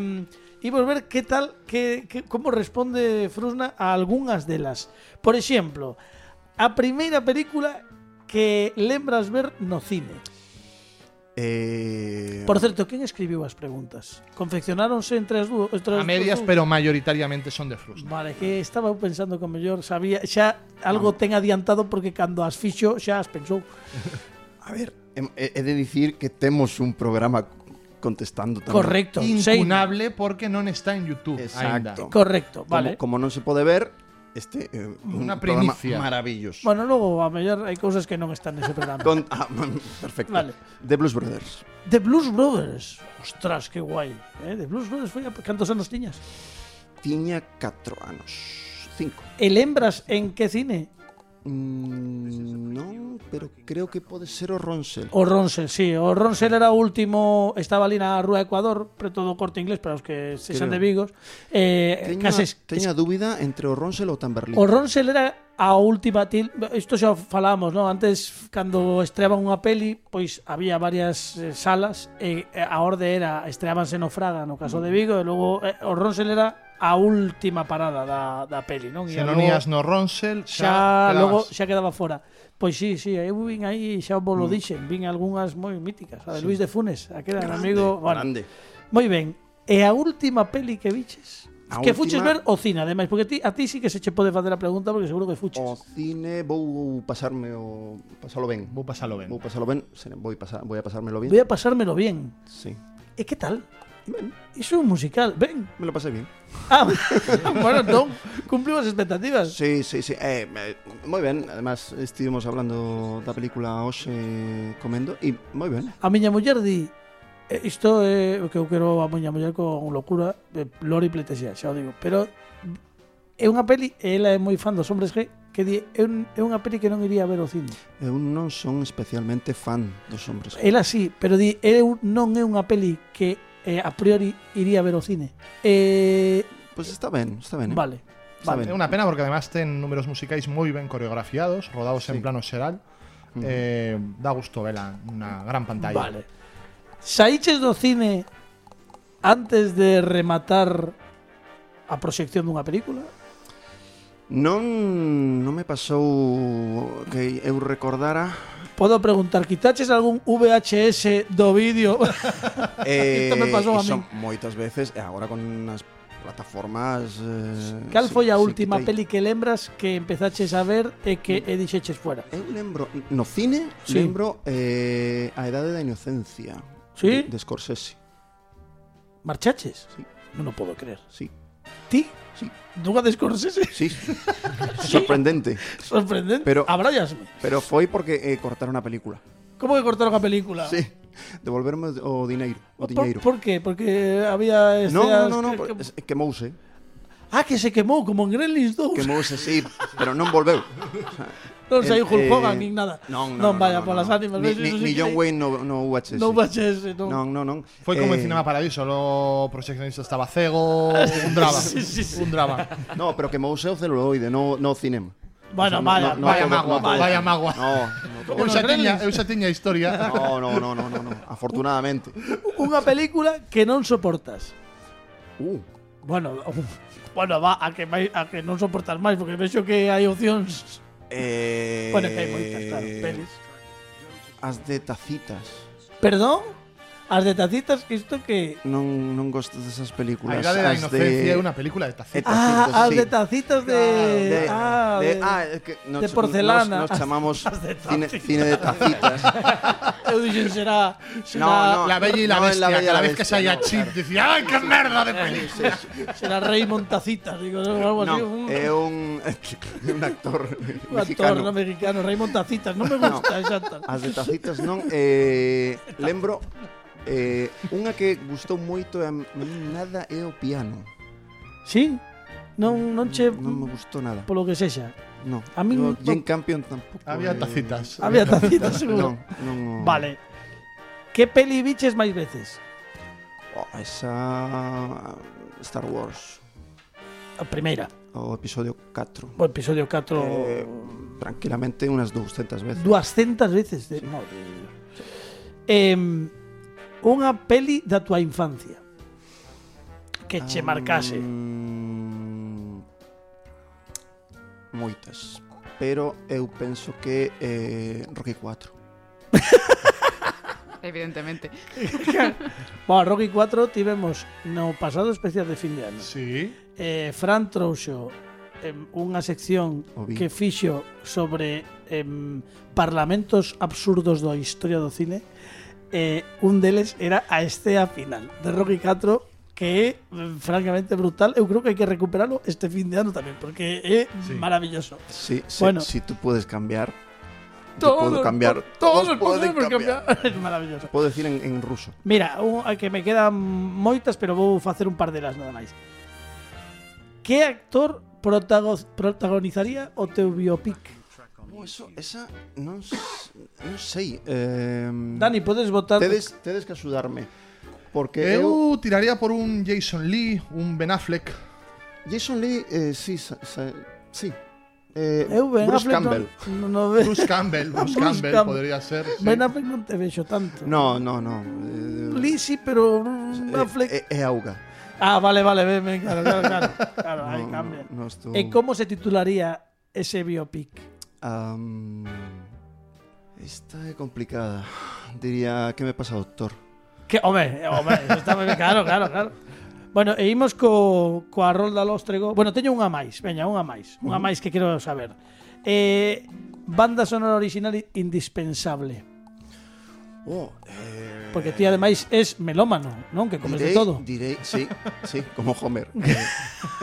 imos ver que tal, que, que como responde Frusna a algunhas delas. Por exemplo, a primeira película que lembras ver no cine. Eh, Por certo, quen escribiu as preguntas? Confeccionáronse entre as dúas? A medias, pero mayoritariamente son de Frust. Vale, que estaba eu pensando que o mellor sabía, xa algo ten adiantado porque cando as fixo xa as pensou. a ver, em, he- he he de dicir que temos un programa contestando tamén. Correcto, sei. Impunable porque no está en YouTube. aínda. Exacto. Correcto, Como, vale. como non se pode ver, este eh, un Una programa primicia. maravilloso. Bueno, logo a mellor hai cousas que non están nese programa. Con- ah, man, perfecto. Vale. The Blues Brothers. The Blues Brothers. Ostras, que guai. Eh? The Blues Brothers foi a... Cantos anos tiñas? Tiña 4 anos. 5. E lembras en que cine? Mm, non, pero creo que pode ser o Ronsel. O Ronsel, sí. O Ronsel era o último... Estaba ali na Rúa Ecuador, preto do corte inglés, para os que se Creo. de Vigos. Eh, Teño, cases, teño a dúbida entre o Ronsel ou Tamberlín. O Ronsel era a última til... Isto xa o falábamos, non? Antes, cando estreaban unha peli, pois había varias eh, salas e eh, a orde era estreábanse no Fraga, no caso Mm. de Vigo, e logo eh, o Ronsel era a última parada da, da peli, non? E Se non logo- ías no Ronsel, xa, xa, logo quedabas. xa quedaba fora. Pois sí, sí, eu vin aí, xa vos Mm. lo dixen, vin algunhas moi míticas, a de Luis de Funes, aquel grande, amigo, bueno. grande. Moi ben. E a última peli que viches? A que última- fuches ver o cine, ademais, porque ti, a ti sí que se che pode facer a pregunta porque seguro que fuches. O cine vou pasarme o pasalo ben. Vou pasalo ben. Vou pasalo ben, se- vou pasar, vou a pasármelo bien. Voy a pasármelo bien. Sí. E que tal? Ben, Iso é un musical, ven. me lo pasé bien. Ah, bueno, non, cumpliu as expectativas. Sí, sí, sí. Eh, eh, moi ben, además estivemos hablando da película hoxe comendo e moi ben. A miña muller di "Eh, Isto é o que eu quero a miña muller con locura eh, Lori Pletesia, xa o digo Pero é unha peli E ela é moi fan dos hombres G Que di, é, un, é unha peli que non iría a ver ao cine Eu non Eh, son especialmente fan dos hombres. Ela sí, pero di eu Non é unha peli que eh, a priori iría a ver ao cine eh, Pois pues está ben, está ben. Eh? Vale, Está vale É ben. unha pena porque además ten números musicais moi ben coreografiados, rodados en plano xeral. Eh, da gusto vela na gran pantalla. Vale. Saíches do cine antes de rematar a proxección dunha película? Non non me pasou que eu recordara Podo preguntar, quitaches algún VHS do vídeo? Isto eh me pasou a min. e eh, son moitas veces e agora con as plataformas eh, Cal sí, foi a sí, última quitei. peli que lembras que empezaches a ver e que e dixeches fuera? Eu lembro no cine, Sí. lembro eh, a edade da inocencia Sí? de, de Scorsese. Marchaches? Sí. Non o podo creer. Sí. Ti? Sí. Dunha de Scorsese? Sí. Sorprendente. Sorprendente. Pero- Abráyasme. Pero foi porque eh, cortaron a película. Como que cortaron a película? Sí. Devolverme o dineiro. O diñeiro. Por, por que? Porque había No, escenas no, no, no, que- por- que- es- ¿eh? quemouse. Ah, que se quemou como en Gremlins 2. Quemouse, sí, pero non volveu. Non saiu Eh, Hulk eh, Hogan nin nada. Non, non, non non, vaya non, polas non. ánimas. Ni, ves, ni, eso sí ni que- John Wayne no, no UHS. Non VHS, non. Non, non, non. Foi como Eh, en Cinema Paradiso, o proxeccionista estaba cego, un drama, Sí, sí, sí. un drama. No, pero quemouse o celuloide, no, no o cinema. Bueno, O sea, no- vaya, no- no vaya todo- magua, no todo. vaya magua. No, no todo. Eu xa tiña, eu xa tiña historia. No, no, no, no, no, no. Afortunadamente. Unha película que non soportas. Uh, Bueno, bueno, va, a que, mai- a que non soportas máis, porque vexo que hai opcións. eh, Bueno, que hai moitas, claro, pelis. As de tacitas. Perdón? As de tacitas, que isto que... Non, non gosto desas A películas. idade da As inocencia é unha película de tacita. Eta- Tacitas, ah, as sí. de tacitas de... De, ah, de, de- ah, é que nos, de porcelana. Nos, nos chamamos As de cine, tacitas. cine de tacitas. Eu dixen será... será ah. No, La no. bella y la No, en bestia, La Bella y la cada vez que Bestia, saía no, chip, claro. decía, ¡ay, qué merda de película! Será Raymond Tacitas, digo, algo así. no, un, é un, un actor un mexicano. actor no mexicano, Raymond Tacitas, non me gusta esa tal. As de tacitas non eh, Lembro eh, Unha que gustou moito e a min nada é o piano Sí? Non, non che... Non me gustou nada Polo que sexa. no. a min non- No, Jane Campion tampouco Había eh, tacitas. Había tacitas, seguro. non, non, o- Vale. Que peli biches máis veces? o- Oh, Esa Star Wars A primeira, O episodio 4 o episodio 4 Eh, tranquilamente unas 200 veces 200 veces de madre. de Dios. Em, unha peli da tua infancia que che marcase. Ah. Mm, moitas pero eu penso que eh, Rocky 4 evidentemente. Bueno, Rocky 4 tivemos no pasado especial de fin de ano. Sí. Eh, Fran trouxo em, unha sección O vi. que fixo sobre em, parlamentos absurdos da historia do cine. Eh, un deles era a estea final de Rocky 4 que é mm, francamente brutal. Eu creo que hai que recuperarlo este fin de ano tamén porque é Sí. maravilloso. Sí, sí, Bueno. si tú puedes cambiar, yo Todos puedo cambiar. Todos, Todos podemos pueden cambiar. É maravilloso. Puedo decir en, en ruso. Mira, un- a que me quedan moitas, pero vou facer un par delas nada máis. Que actor protago protagonizaría o teu biopic? Oh, eso, esa, non, s- non sei. Eh, Dani, podes votar tedes, tedes que axudarme. Porque eu... Eu tiraría por un Jason Lee, un Ben Affleck. Jason Lee, eh, sí, sa, sa, sí. Eh, Eu Ben Bruce Affleck Campbell. Non, non, ve- Bruce Campbell, Bruce Bruce Campbell Campbell. podría ser. sí. Ben Affleck non te vexo tanto. No, no, no. Eh, Lee sí, pero mm, eh, Affleck... É, é auga. Ah, vale, vale, ben, ben, claro, claro, claro. claro aí cambia. No, no estou... E como se titularía ese biopic? Am, esta é complicada. Diría, que me pasa, doctor? Que, home, eh, home, eso está moi ben, claro, claro, claro. Bueno, e imos co, coa rolda lóstrego. Bueno, teño unha máis, veña, unha máis. Unha máis que quero saber. Eh, banda sonora original i- indispensable. Oh, eh, Porque ti, ademais, es melómano, non? Que comes de direi- todo. Direi, sí, sí, como Homer. Eh,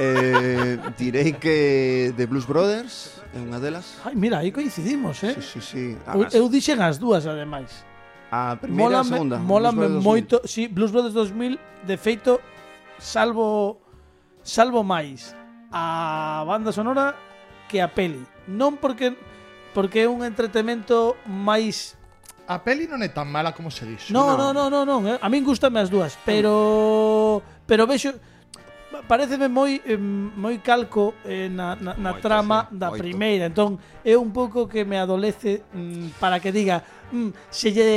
eh, direi que The Blues Brothers é unha delas. Ai, mira, aí coincidimos, eh? Sí, sí, sí. Ah, Eu, eu dixen as dúas, ademais. a primeira e a Mólame, segunda. mólame Blues Brothers 2000. moito, si, sí, Blues Brothers 2000, de feito, salvo salvo máis a banda sonora que a peli. Non porque porque é un entretemento máis A peli non é tan mala como se dixo. Non, non, non, non, non, eh. a min gustame as dúas, pero pero vexo pareceme moi eh, moi calco eh, na, na, na Moito, trama sí, da moito. primeira, entón é un pouco que me adolece mm, para que diga, mm, se lle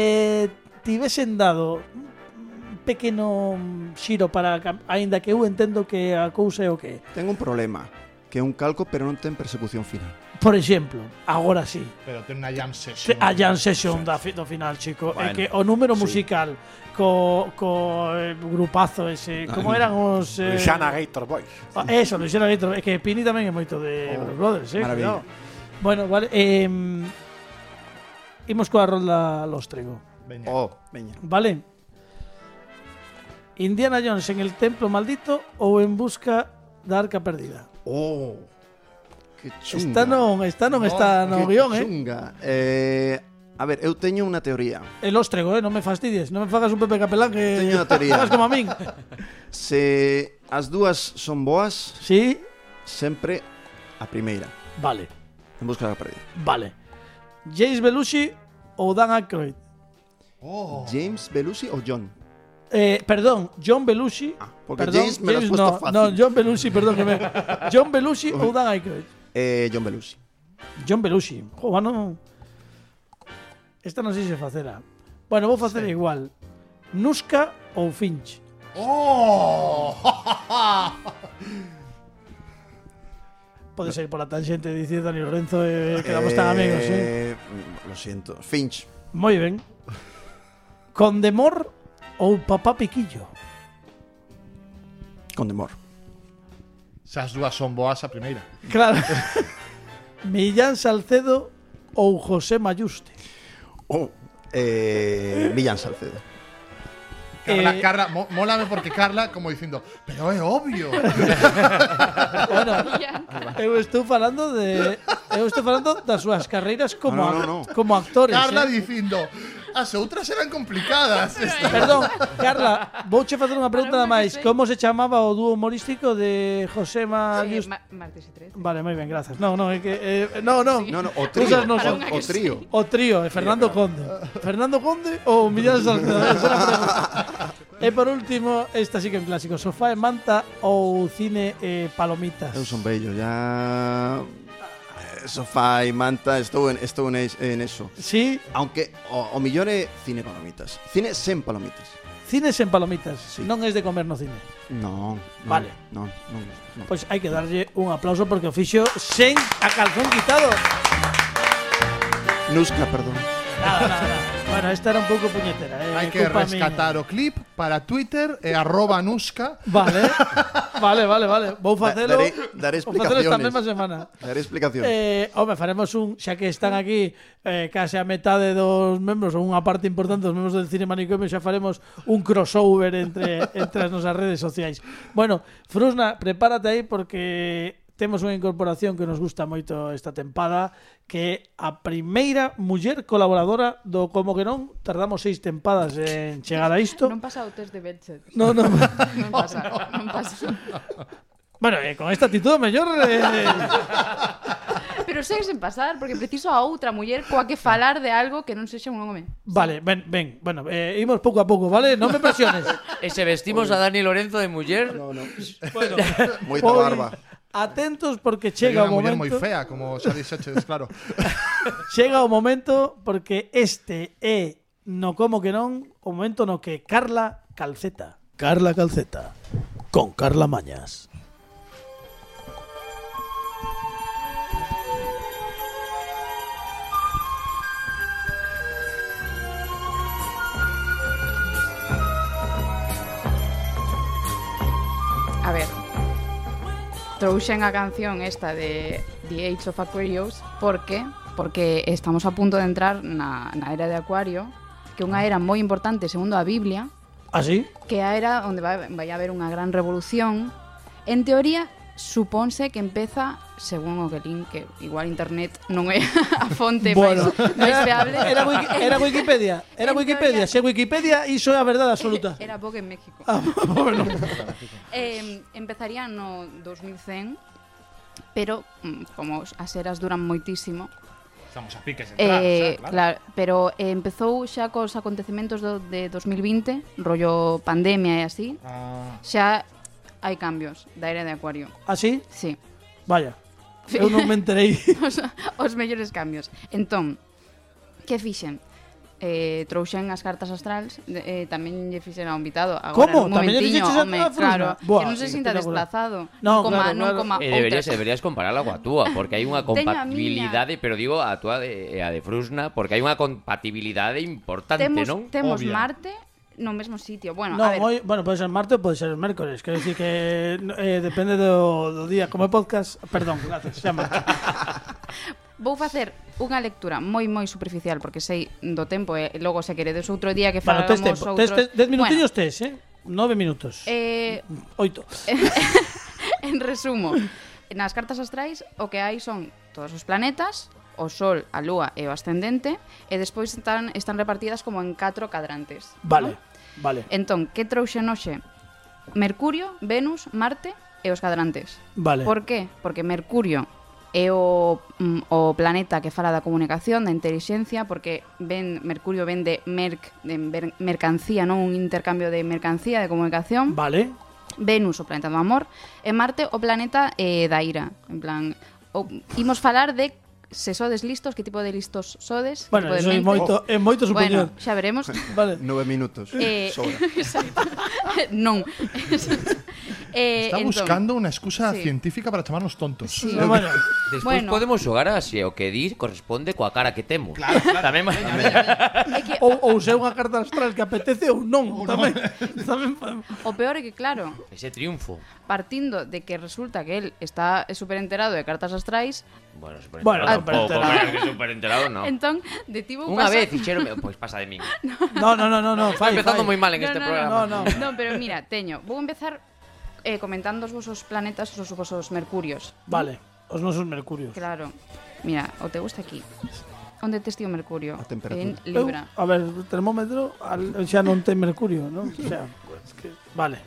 tivesen dado un pequeno mm, xiro para cam- aínda que eu entendo que a cousa é o que é. Tengo un problema, que é un calco pero non ten persecución final. Por exemplo, agora sí, Pero ten una jam Se- session. A Jam Session ah, da fi- do final, chico. É Bueno, que o número sí. musical co, co eh, grupazo ese, Ah, como eran os... Eh, Luciana Gator Boys. Ah, Eso, Luciana Gator. É que Pini tamén é moito de Oh, Blues Brothers, eh? maravilla. cuidado. Bueno, vale. Eh, imos coa rolda Lostrego, Veña. Oh, veña. vale? Indiana Jones en el templo maldito ou en busca da arca perdida? Oh. Que chunga. Está non, está non No, está no que guión, eh? chunga. eh? A ver, eu teño unha teoría. El Lostrego, eh? Non me fastidies, non me fagas un Pepe Capelán que... Teño unha teoría. Fagas como a min. Se as dúas son boas, Sí, sempre a primeira. Vale, En busca da perdida. vale. James Belushi ou Dan Aykroyd? Oh. James Belushi ou John? Eh, perdón, John Belushi. Ah, porque perdón, James me lo has puesto no, fácil. no, John Belushi, perdón que me. John Belushi ou Dan Aykroyd? Eh, John Belushi. John Belushi. Jo, bueno, esta non sei se facela. Bueno, vou facer igual. Nuska ou Finch? Oh. Podes ir pola tangente dicir Dani Lorenzo eh, quedamos tan amigos, eh. Lo siento. Finch. Moi ben. Condemor ou Papá Piquillo? Con demor. Se as dúas son boas a primeira. Claro. Millán Salcedo ou José Mayuste. Oh. Eh, Villan Salcedo. Carla, Eh, Carla, mo- mólame porque Carla como dicindo, pero é obvio. Bueno, eu estou falando de eu estou falando das súas carreiras como No, no, ac- no. como actores. eh. Carla dicindo, as outras eran complicadas. eh, Esta- Perdón, Carla, vouche facer unha pregunta nada Para eh. unha que máis. sei. Como se chamaba o dúo humorístico de José Eh, Mayuste? ma- martes y tres. Vale, moi ben, grazas. No, no, é que eh, no, no. No, no, o trío. Cosas no son. Para unha O que sí. trío. O trío, eh, Fernando Conde. Fernando Conde ou Millán Salcedo? Esa era a pregunta. e por último, esta sí que é un clásico. Sofá e manta ou cine e palomitas? Eu son bello, ya... Eh, Sofá e manta, estou en, estou en, es- en eso. Sí, Aunque o, o millón é cine palomitas. Cine sen palomitas. cines en palomitas. Non es de comer no cine. No, no Vale. No, no, no. Pois hai que darlle un aplauso porque o fixo sen a calzón quitado. Nusca, ah, perdón. Nada, nada, nada. Bueno, esta era un pouco puñetera, eh. Hai que culpa rescatar o clip para Twitter e arroba Nusca. Miña. Vale. Vale, vale, vale. Vou Da- facelo. daré- daré vou facelo esta explicaciones. mesma semana. Daré explicaciones. Eh, home, faremos un, xa que están aquí eh, case a metade dos membros ou unha parte importante dos membros del Cine Manicomio, xa faremos un crossover entre entre as nosas redes sociais. Bueno, Frusna, prepárate aí porque temos unha incorporación que nos gusta moito esta tempada, que é a primeira muller colaboradora do Como que non, tardamos seis tempadas en chegar a isto. Non pasa o test de Belcher. No, no. Non pasa, non pasa. Bueno, eh, con esta actitud mellor eh, Pero sei sen pasar, porque preciso a outra muller coa que falar de algo que non sexa un home. Vale, ven, ven. Bueno, eh, imos pouco a pouco, ¿vale? Non me presiones. E se vestimos a Dani Lorenzo de muller, Oh, No, no. Bueno, Moita pois, barba. Atentos porque chega Sería o unha muller moi momento. fea, como xa dixeches, claro. Eh, Chega o momento porque este é no como que non, o momento no que Carla Calceta. Carla Calceta con Carla Mañas. A ver. Trouxen a canción esta de The Age of Aquarius porque porque estamos a punto de entrar na, na era de Acuario, que é unha era moi importante segundo a Biblia, Así? que a era onde vai, vai haber unha gran revolución. En teoría, supónse que empeza, según o que link, que igual internet non é a fonte Bueno, máis, máis fiable. Era, Wiki- era Wikipedia, era En Wikipedia, teoría- se Wikipedia iso é a verdade absoluta. Era Vogue en México. Ah, bueno. Eh, empezaría no 2100, pero mm, como as eras duran moitísimo, Estamos a piques en Eh, claro. claro, pero eh, empezou xa cos acontecementos do, de 2020, rollo pandemia e así, Ah, xa hai cambios da era de Acuario. Así? Sí, ¿Ah, Vaya. Eu non me enterei. os, os mellores cambios. Entón, que fixen? Eh, trouxen as cartas astrals de, eh, Tamén lle fixen a un invitado Agora, Como? Un Tamén lle momentiño, fixeches a- home, a Frusna? claro Buah, Que non se sinta espectacular. desplazado No, Non coma, claro, non claro. coma eh, deberías, outras. deberías compararla coa túa, porque hai unha Teño Ah, a compatibilidade, pero digo a túa de, e a de Frusna, porque hai unha compatibilidade importante, Temos, non? temos Obvia. Marte no mesmo sitio Bueno, No, a ver, hoy, bueno, pode ser martes ou pode ser mércores Quero dicir que eh, depende do, do día Como é podcast, perdón, gracias, xa marcho. Vou facer unha lectura moi moi superficial porque sei do tempo e logo se queredes outro día que Bueno, falamos tes tempo, tes, tes, outros. dez minutinhos tes, eh? Nove minutos, Bueno, eh, oito en resumo, nas cartas astrais o que hai son todos os planetas, o Sol, a Lúa e o ascendente, e despois están están repartidas como en catro cadrantes. Vale, vale, Entón, que trouxen hoxe? Mercurio, Venus, Marte e os cadrantes. vale Por qué? Porque Mercurio é o, mm, o planeta que fala da comunicación, da intelixencia, porque ven, Mercurio ven de, merc, de mer- mercancía, non un intercambio de mercancía, de comunicación. Vale, Venus, o planeta do amor, e Marte, o planeta eh, da ira. En plan, o, imos falar de se sodes listos, que tipo de listos sodes. que bueno, tipo de iso é mente. moito, é moito supoñón Bueno, xa veremos. Vale, Nove minutos. Eh, Sobra. exacto. non. eh, Está entón, buscando unha excusa Sí. científica para chamarnos tontos. Sí. no, bueno Despois Bueno. podemos xogar a se o que dir corresponde coa cara que temos. Claro, claro. Tamén, é que Ou, ou se é unha carta astral que apetece ou non Tamén, tamén podemos. o peor é que, claro, ese triunfo. partindo de que resulta que él está súper enterado de cartas astrais, Bueno, Bueno, superenterado tampoco, superenterado. claro que superenterado no. entón detivo un Unha paso- vez fixeron, pois pasa de min. No, no, no, no, no Está fai, empezando moi fai. mal en este programa. no, no. No, pero mira, teño, vou empezar eh, comentando os vosos planetas, os vosos mercurios. Vale, os nosos mercurios Claro. Mira, o te gusta aquí. Onde te estío Mercurio? A temperatura. En Libra. Eu, a ver, o termómetro al, xa non ten mercurio, non? O sea, es que, vale.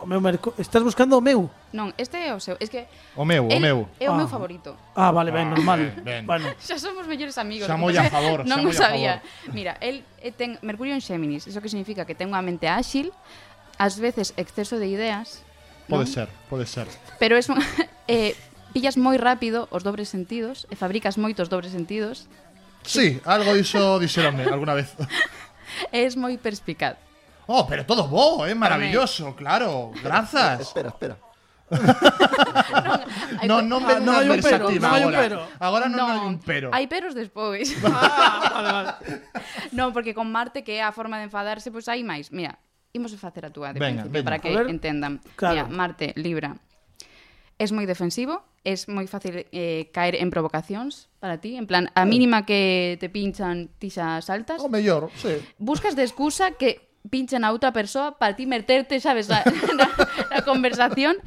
O meu mercu... Estás buscando o meu? Non, este é o seu, es que O meu, o el meu. é o meu Ah. favorito. Ah, vale, ben, Ah, normal. ben, ben. Bueno, Xa somos mellores amigos. o Xa que moi pasa a é favor, xa Non o moi a sabía. Mira, el eh, ten Mercurio en Xéminis, eso que significa que ten unha mente áxil, ás veces exceso de ideas, Pode ser, pode ser. pero es un, eh, pillas moi rápido os dobres sentidos e fabricas moitos dobres sentidos. Sí, algo iso dixéronme alguna vez. E es moi perspicaz. Oh, pero todo bo, é maravilloso, claro. Grazas. Espera, espera. Hai No, pe- non non hai non hai un pero, versativa non hai un agora. pero. Agora non hai un pero. Hai peros despois. Ah, vale, vale. non, porque con Marte que é a forma de enfadarse, pois hai máis. Mira, imos a facer a túa de Veña, principio veña. para que A ver. entendan. Claro. Mira, Marte, Libra. Es moi defensivo, es moi fácil eh, caer en provocacións para ti, en plan, a mínima que te pinchan, ti xa saltas. O mellor, sí. buscas de excusa que pinchen a outra persoa para ti meterte, sabes, na, na, na conversación.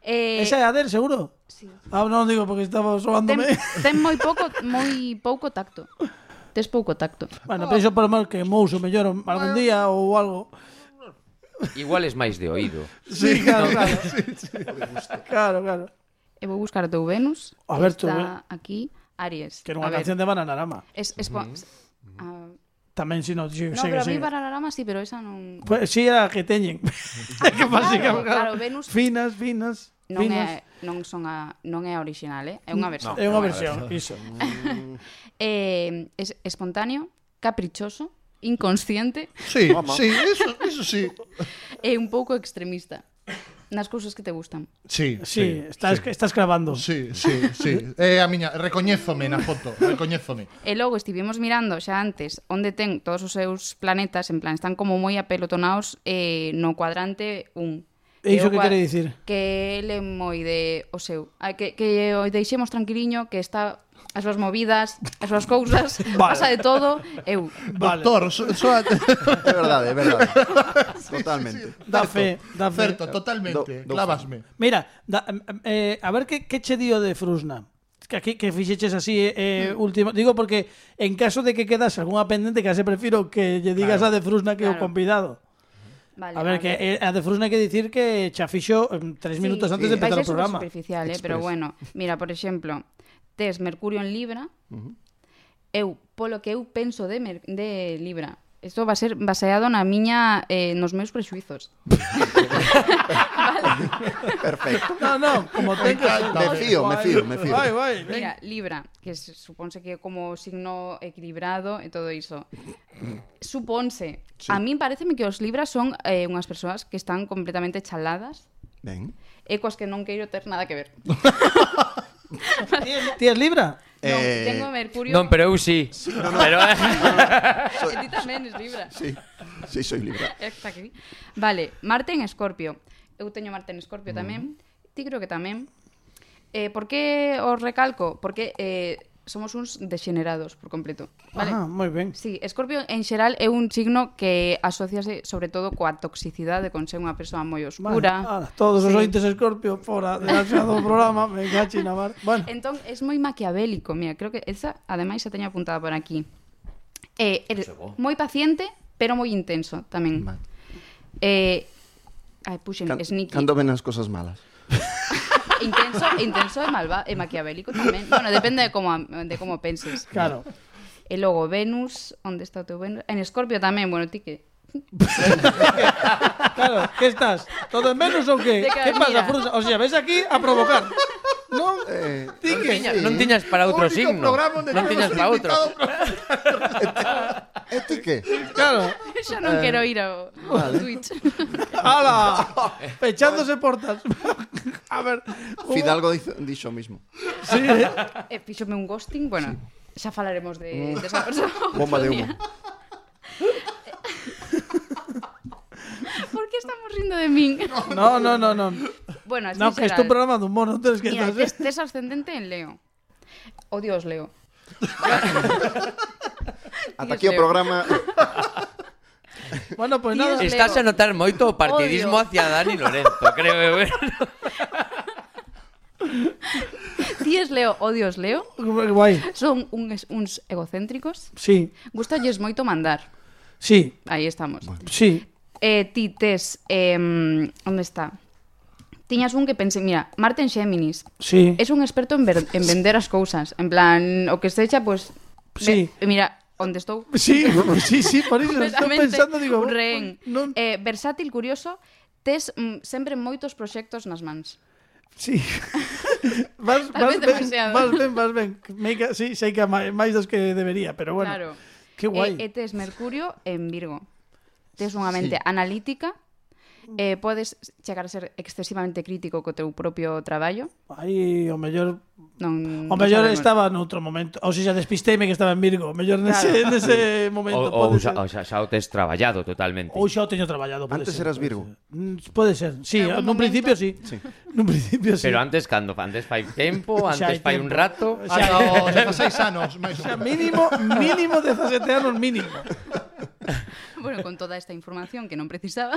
Eh, Esa é a del, seguro? sí. Ah, non digo porque estaba ten, soándome. ten moi pouco moi pouco tacto. Tes pouco tacto. Bueno, penso por mal que Mouso mellor algún día ou algo. Igual es máis de oído. Sí, claro, claro. Claro, claro. E vou buscar o teu Venus. A ver, Está tú, eh, aquí Aries. que era A unha ver, canción de Bananarama. Es, es po- Mm-hmm. ah, Tamén si non, sí, no, sí, pero a sí. mí Bararama sí, pero esa non... Pues, sí, era a que teñen. que pasa Claro, que- claro, Venus Finas, finas, non finas. é, non, son a, non é a original, eh? é unha versión. É unha versión, iso. Eh, es espontáneo, caprichoso, inconsciente Sí, sí, eso, eso sí. e un pouco extremista nas cousas que te gustan. Sí, Sí, estás, estás clavando. Sí, sí, sí. Eh, a miña, recoñézome na foto, recoñézome. E logo estivemos mirando xa antes onde ten todos os seus planetas, en plan, están como moi apelotonados eh, no cuadrante 1. E iso o que cua- quere dicir? Que ele é moi de o seu. a Que, que o deixemos tranquiliño, que está as súas movidas, as súas cousas, Vale. pasa de todo. Eu, Vale. Doctor, so, soa- É verdade, é verdade. Totalmente. Da fe, da fe. certo, totalmente, Do- do- clavasme. Mira, da- em, em, eh, a ver que, que che dio de Frusna. Que aquí que fixeches así eh, eh, Mm. último, digo porque en caso de que quedas algunha pendente que se prefiro que lle digas a de Frusna que o Claro. convidado. vale, A ver, que eh, a de Frusna hai que dicir que xa fixo em, tres minutos antes de Vais empezar a o programa. superficial, eh? pero bueno, mira, por exemplo, tes Mercurio en Libra. Eu, polo que eu penso de Mer de Libra. Isto va a ser baseado na miña eh, nos meus prexuizos. Perfecto. No, no, como ten que ser. Me fío, me fío, me fío. Vai, vai. ven. Mira, Libra, que se supónse que é como signo equilibrado e todo iso. Supónse. A min pareceme que os Libras son eh, unhas persoas que están completamente chaladas Ben. e coas que non queiro ter nada que ver. Ti- Ti es Libra? Non, Eh, tengo Mercurio. Non, pero eu sí. Pero eh, E ti tamén es Libra. Sí, sí, soy libre. Está aquí. Vale, Marte en Escorpio. Eu teño Marte en Escorpio tamén. Ti creo que tamén. Eh, por que os recalco? Porque eh, somos uns degenerados por completo. Vale. Ah, moi ben. Sí, Escorpio en xeral é un signo que asociase sobre todo coa toxicidade con ser unha persoa moi oscura. Vale, ahora, todos os Sí. ointes Escorpio fora de la do programa, me cachi na mar. Bueno, Entón, é moi maquiavélico, mira, creo que esa, ademais, se teña apuntada por aquí. Eh, er, moi paciente, pero moi intenso tamén. Vale. Eh, ai, puxen, Can- sneaky. Cando ven as cosas malas. Intenso, intenso e malva e maquiavélico tamén. Bueno, depende de como de como penses. claro. E logo Venus, onde está o teu Venus? En Escorpio tamén, bueno, ti que Claro, que estás? Todo en menos ou que? De Que cara, pasa, mira. Frusa? O sea, ves aquí a provocar. Non? Eh, Ti que? tiña- non tiñas para outro Único signo. programa onde Non temos tiñas para outro. invitado pro- e ti que? Claro. xa Eh, non quero ir ao, ao Twitch. Ala. Fechándose portas. A ver. como- Fidalgo dice- dixo o mismo. Sí, eh. E fíxome un ghosting, bueno, xa falaremos Mm. de, de esa persoa. outro Bomba de día. humo. Por que estamos rindo de min? No, no, no, no. Bueno, así No, que xeral. isto é un programa dun mono, tens que Mira, este estás. tes, tes ascendente en Leo. O Dios, Leo. Ata aquí o programa Bueno, pois pues nada. Dios. Estás a notar moito o partidismo Odio. hacia Dani Lorenzo, creo eu. eh. Ti es Leo, o Dios, Leo. Guai. Son uns, uns egocéntricos. Sí, Gústalles moito mandar. sí, Aí estamos. sí. Eh, ti tes... Eh, onde está? Tiñas un que pensei... Mira, Marte en Xéminis. Sí. Es un experto en, ver, en vender as cousas. En plan, o que se echa, pues... Sí. ve- mira, onde estou. Sí, sí, sí, por iso estou Precisamente, pensando, digo, un rehén. non, Eh, versátil, curioso, tes mm, sempre moitos proxectos nas mans. Sí. vas, Tal vas, vez ben, demasiado. vas ben, vas ben. Me ca- sí, sei que a ma- máis dos que debería, pero bueno. claro. Eh, Qué guai. E, e tes Mercurio en Virgo. Tes unha mente analítica, eh, podes chegar a ser excesivamente crítico co teu propio traballo. Aí o mellor Non, O mellor non sabemos. estaba noutro momento, ou se xa despistei-me que estaba en Virgo, o mellor nese, Claro. nese O, momento o, pode xa, ser. o xa, xa o tes traballado totalmente. Ou xa o teño traballado, pode Antes ser, eras pode Virgo. ser. Mm, Pode ser, sí, Algún nun momento. principio sí. Nun principio sí. Pero antes cando, antes fai tempo, Xa hai antes fai un tempo. rato. Xa Ata os 16 anos, máis ou Xa menos. mínimo, mínimo 17 anos mínimo. Bueno, con toda esta información que non precisaba.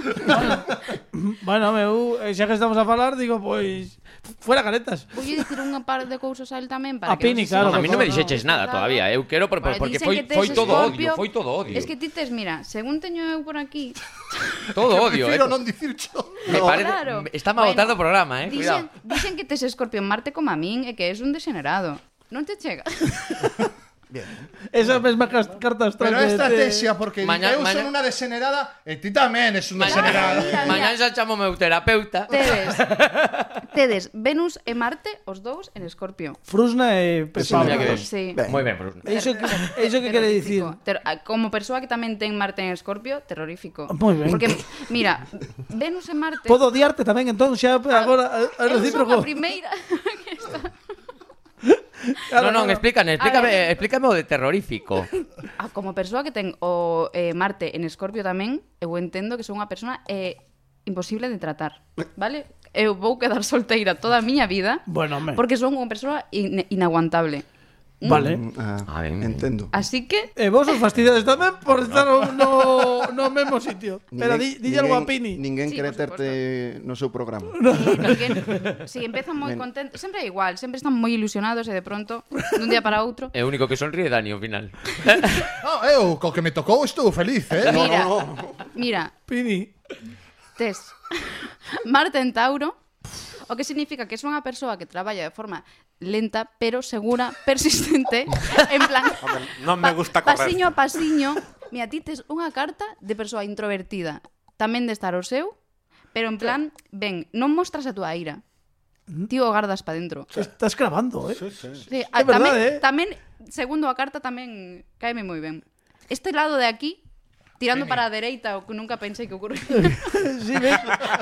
Bueno, meu, eh, xa que estamos a falar, digo, pois, fuera caretas. Voulle dicir unha par de cousas a él tamén para A que non Pini, se claro, a sinta mí non me mal. dixeches nada todavía, eu quero por- Vale, porque dicen foi que tes foi todo odio, Escorpio. foi todo odio. Es que ti tes, mira, según teño eu por aquí, Todo odio, eh. Prefiero non dicir cho. Me parece claro. está mal Bueno, botado o programa, eh. Cuidado. Dixen, dixen que tes Escorpio en Marte como a min e que és un degenerado. Non te chega. Esa mesma cas- carta astral. Pero que é te- estrategia porque Maña- eu maña- son unha desenerada e ti tamén es unha Maña- desenerada. Mira, mira. Mañá xa chamo meu terapeuta. Tedes, tedes Venus e Marte, os dous en Escorpio. Frusna e Mira que Pesado. ben. Sí. Ben. Moi ben, Bruno. Eso que, eso que quere dicir. Terrorífico. Ter- a- como persoa que tamén ten Marte en Escorpio, terrorífico. Moi ben. Porque, mira, Venus e Marte... Podo odiarte tamén, entón, xa agora, a, a pues, Eu son recíproco. a primeira que está... Non, non, explícame, explícame, A ver. explícame o de terrorífico. Ah, como persoa que ten o eh, Marte en Escorpio tamén, eu entendo que son unha persona eh, imposible de tratar, vale? Eu vou quedar solteira toda a miña vida Bueno, home. porque son unha persoa in inaguantable. Vale. Ah, A ver. entendo. Así que, E vos os fastidiades tamén por estar no, no, no mesmo sitio. Pero di, dille algo a Pini. Ninguén Sí, quere por terte no seu programa. eh, ninguén, si empezan moi contentos, sempre é igual, sempre están moi ilusionados e de pronto, dun día para outro, É o único que sonríe Dani ao final. No, eu, co que me tocou, estou feliz, eh? No, mira, no, no. mira, Pini. Tes. Marte en Tauro. O que significa que é unha persoa que traballa de forma lenta, pero segura, persistente, en plan... Hombre, non me pa- gusta correr. Pasiño a pasiño. Mira, ti tes unha carta de persoa introvertida. Tamén de estar o seu, pero en plan, ben, non mostras a túa ira. Mm. Ti o gardas pa dentro. Estás grabando, eh? Sí, a, verdade, eh. tamén, tamén, segundo a carta, tamén caeme moi ben. Este lado de aquí, tirando para a dereita, o que nunca pensei que ocurriría. Sí, ves?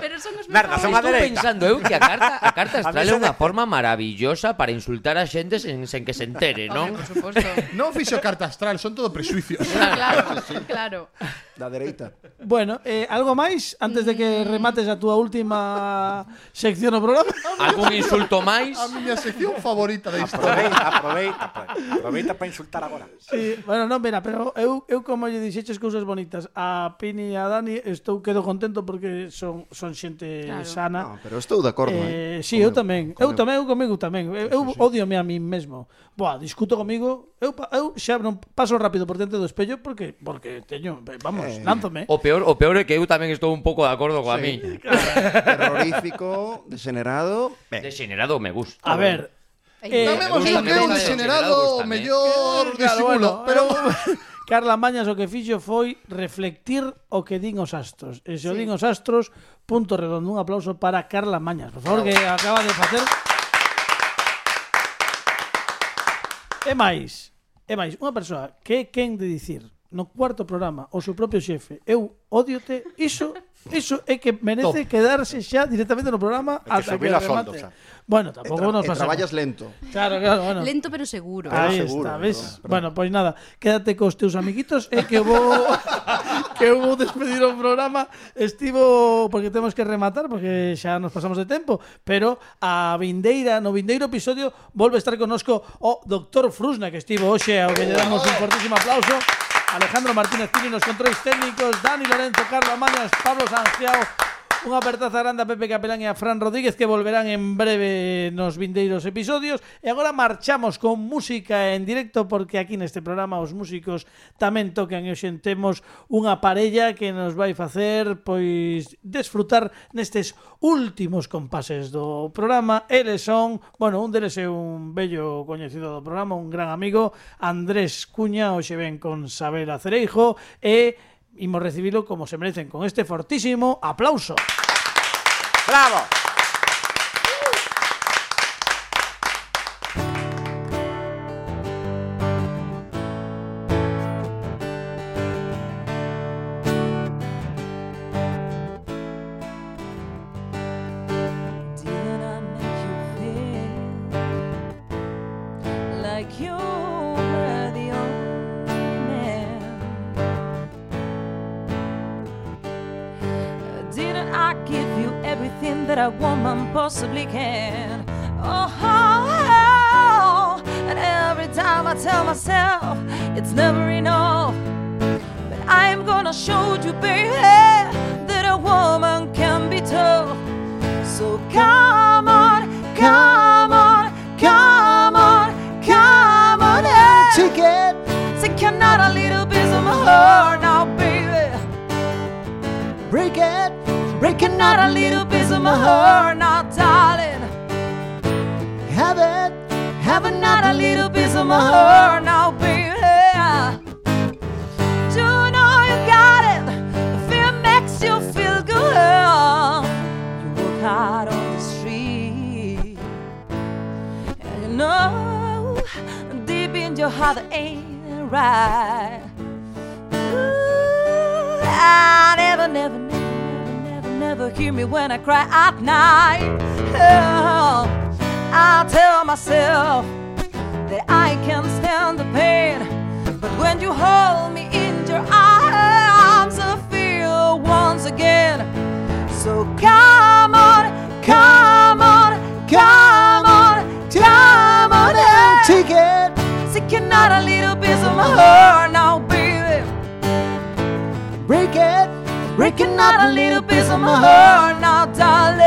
pero son os meus Merda, son a Estou dereita. pensando eu que a carta, a carta A mí astral é se me- unha forma maravillosa para insultar a xente sen, sen que se entere, non? Hombre, por supuesto. Non fixo carta astral, son todo presuicios. claro, claro. Da dereita. Bueno, eh, algo máis antes de que remates a túa última sección do programa? Algún insulto máis? A miña sección favorita Ah, da historia. Aproveita, aproveita, aproveita para insultar agora. Sí, bueno, non, mira, pero eu, eu como lle dixeches cousas bonitas a Pini e a Dani, estou quedo contento porque son, son xente Claro. sana. No, pero estou de acordo, Eh, eh. sí, eu tamén. Eu tamén, eu comigo tamén. Eu, eu odiome a mí mesmo. Boa, discuto comigo. Eu, pa- eu xa non paso rápido por dentro do espello porque porque teño, vamos, lánzome. O peor, o peor é que eu tamén estou un pouco de acordo coa Sí. miña. Terrorífico, degenerado. Ben. Degenerado me gusta. A ver, Eh, Tamén vos gusta non que que é me un gusta degenerado gustame. mellor claro, disimulo, bueno, eh, pero... eu- Carla Mañas o que fixo foi reflectir o que din os astros. E se o din os astros, punto redondo, un aplauso para Carla Mañas, por favor, que acaba de facer. E máis, e máis, unha persoa que é quen de dicir no cuarto programa o seu propio xefe, eu odiote, iso Iso é que merece quedarse xa directamente no programa Hai que hasta que subir a soldo, remate. xa. Bueno, E, tampouco tra nos e pasamos. traballas lento. Claro, claro, bueno. Lento pero seguro. Ahí Ah, seguro, Ah, está, ves? perdón, perdón. Bueno, pois nada, quédate cos teus amiguitos e que eu vou que eu vou despedir o programa. Estivo porque temos que rematar porque xa nos pasamos de tempo, pero a vindeira, no vindeiro episodio volve a estar conosco o Dr. Frusna que estivo hoxe, ao que lle damos un fortísimo aplauso. Alejandro Martínez Pini nos controis técnicos, Dani Lorenzo, Carlos Mañas, Pablo Sanciao, Unha apertaza grande a Pepe Capelán e a Fran Rodríguez que volverán en breve nos vindeiros episodios. E agora marchamos con música en directo porque aquí neste programa os músicos tamén tocan e xentemos unha parella que nos vai facer pois desfrutar nestes últimos compases do programa. Eles son, bueno, un deles é un bello coñecido do programa, un gran amigo, Andrés Cuña, hoxe ven con Sabela Cereijo e Imos recibilo como se merecen, con este fortísimo aplauso. ¡Bravo! everything that a woman possibly can. Oh, oh, oh. and every time I tell myself it's never enough. But I'm gonna show you, baby, that a woman can be tough. So come on, come on, come on, come on, yeah. Ticket. Take another little piece of my heart now, baby. Break it. Break another little piece of my heart now, darling. Have it. Have another little piece of my heart now, baby. You know you got it. The fear makes you feel good. You walk out on the street, and you know deep in your heart it ain't right. Ooh, I never, never, never, never, never hear me when I cry at night. Oh, I tell myself that I can't stand the pain. But when you hold me in your arms, I feel once again. So come on, come on, come on, come on, yeah. Ticket. Seek another little piece of my heart now, baby. Break it. Breaking out a little piece of my heart now, darling.